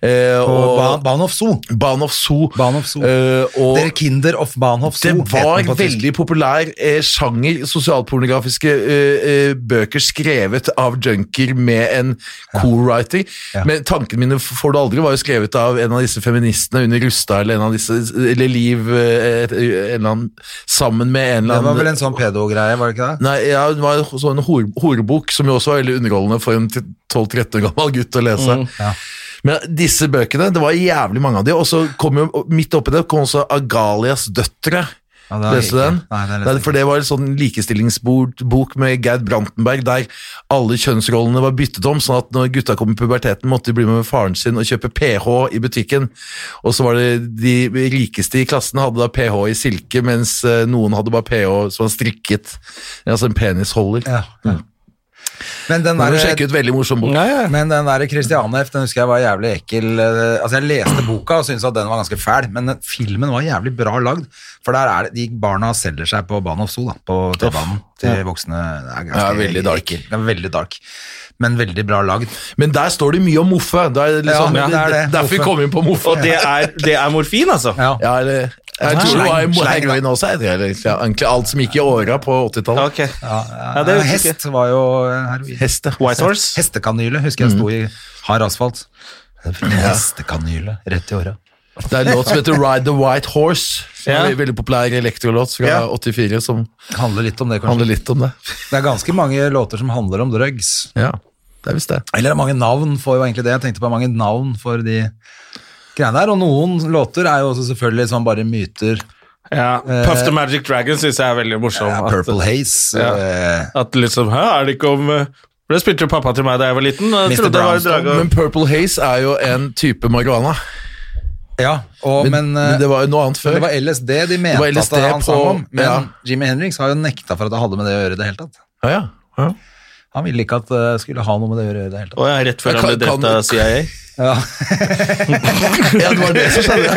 Eh,
Og
og
ba, Bahnhof Zoo.
Bahnhof Zoo.
Bahnhof Zoo.
Eh, og
Dere Kinder of Bahnhof
Det
Zoo. het
var
den på tysk.
veldig populær eh, sjanger, sosialpornografiske eh, eh, bøker skrevet av junker med en co-writer.
Ja.
Men tankene mine f- får du aldri var jo skrevet av en av disse feministene under Rustad eller en av disse, eller Liv eh, et- en eller annen, sammen med en
Det
eller
var vel
annen
en sånn pedo-greie, var det ikke det?
Nei, ja, det var en sånn hor horebok som jo også var veldig underholdende for en t- 12-13 år gammel gutt å lese.
Mm. Ja.
Men disse bøkene, det var jævlig mange av de, og så kom jo midt oppi det kom også Agalias døtre.
Ja, det har jeg
Leste du
ikke.
den?
Nei, den leste jeg
Nei, for det var en sånn likestillingsbok med Gerd Brantenberg, der alle kjønnsrollene var byttet om, sånn at når gutta kom i puberteten, måtte de bli med faren sin og kjøpe ph i butikken. Og så var det de rikeste i klassen hadde da ph i silke, mens eh, noen hadde bare ph som var strikket, altså en penisholder.
Ja. Men den
Mm. Må du
der,
sjekke ut veldig morsom bok.
men den der Christiane F, den husker jeg var jævlig ekkel. eh, Altså, jeg leste boka og syntes at den var ganske fæl, men den- filmen var jævlig bra lagd. For der er det, de barna selger seg på Bahnhof Zoo, da, på T-banen, til voksne. Det er
Ja, veldig dark.
ekkelt. Det er veldig dark. Men veldig bra lagd.
Men der står det mye om Moffe. Det er liksom,
Ja, det er det.
Derfor vi kom inn på Moffe.
Og det er, det er morfin, altså.
Ja.
Ja, eller, jeg
Ja,
tror det var
sleng,
i
sleng, da.
heroin også. jeg tror, eller, ja, Egentlig alt som gikk i åra på 80-tallet.
Ok.
Ja,
det husker jeg
hest var jo eh, heroin.
Heste.
White Horse.
Hestekanyle husker jeg sto i hard asfalt. Hestekanyle rett i åra.
Det er en låt som heter Ride the White Horse. Som
Ja.
er en veldig populær elektrolåt fra
Ja.
84 som
Handler litt om det, kanskje.
handler litt om det.
Det er ganske mange låter som handler om drugs.
Ja, det er visst det.
Eller mange navn for jo egentlig det. Jeg tenkte på mange navn for de greiene der. Og noen låter er jo også selvfølgelig sånn bare myter.
Ja. Puff the Magic Dragon syns jeg er veldig morsom.
Eh, Ja, Purple Haze.
Ja.
eh,
At, at liksom, Hæ, er det ikke om eh, Det spilte jo pappa til meg da jeg var liten. og Jeg
Mr.
trodde det var
Brownstone,
drage.
Men Purple Haze er jo en type marihuana.
ja. Og, men,
Men, men det
det, var,
var jo noe annet før.
det var LSD de mente
var LSD
at han sang
på-
om. Men
ja.
Jimmy Henriks har jo nekta for at det hadde med det å gjøre i det hele tatt.
ja, ja. Ja.
Han ville ikke at det skulle ha noe med det å gjøre i det hele tatt.
Og jeg er rett før
Jeg
han ble
kan-
drept av CIA.
Ja.
ja, det var det som skjedde.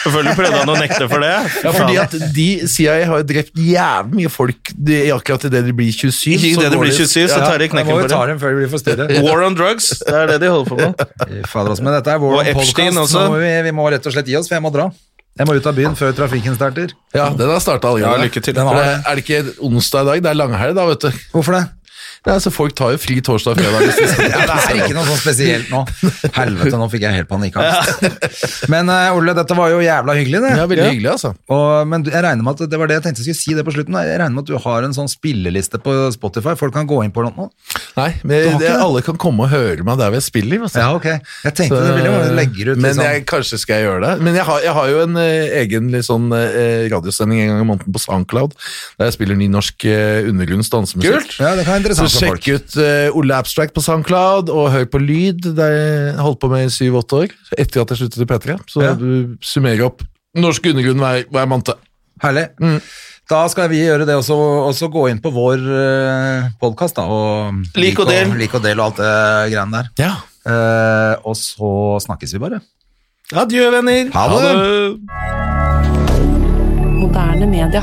Selvfølgelig prøvde han å nekte for det.
Ja, fordi
Faen.
at de, CIA har jo drept jævlig mye folk de, akkurat idet de blir 27.
Ikke
så
idet de
går
blir 27, så tar de
Da må
knekken
vi ta
på det.
dem før de blir for stille.
War on drugs, det er det de holder på med.
Fader altså, men dette er vår
Og Epstein
podcast.
også.
Nå må vi, vi må rett og slett gi oss, for jeg må dra. Jeg må ut av byen før trafikken starter.
Ja, den har starta allerede.
Ja, lykke til.
Den har,
For det-
er det ikke onsdag i dag? Det er langhelg, da, vet du.
Hvorfor det?
Det er, altså, folk tar jo fri torsdag og fredag. Hvis de skal.
Ja, det er ikke noe sånn spesielt nå. Helvete, nå fikk jeg helt panikkangst. Men eh, Ole, dette var jo jævla hyggelig, det.
Det er veldig hyggelig, altså.
Og, men du- jeg regner med at det var det jeg tenkte jeg skulle si det på slutten. da. Jeg regner med at du har en sånn spilleliste på Spotify. Folk kan gå inn på noe.
Nei,
Du har
men det,
ikke det?
alle kan komme og høre meg der hvor jeg spiller. Altså.
Ja, ok. Jeg tenkte
Så-
det ville være legger ut
men
liksom.
jeg, kanskje skal jeg gjøre det. Men jeg har, jeg har jo en eh, egen litt sånn, eh, radiosending en gang i måneden på SoundCloud, der jeg spiller ny norsk eh, undergrunns dansemusikk.
Ja, det kan være
Så
interessant for folk.
sjekk ut eh, Ole Abstract på SoundCloud, og hør på Lyd, der jeg holdt på med i 7-8 år, etter at jeg sluttet i P3. Så
Ja.
du summerer opp norsk undergrunn hver, hver måned.
Herlig.
Mm.
Da skal vi gjøre det også, også gå inn på vår uh, podkast, da. Og
Lik og del.
Lik og del og alt det greiene der.
Ja.
Eh, og så snakkes vi bare.
Adjø, venner.
Ha det.
Moderne media.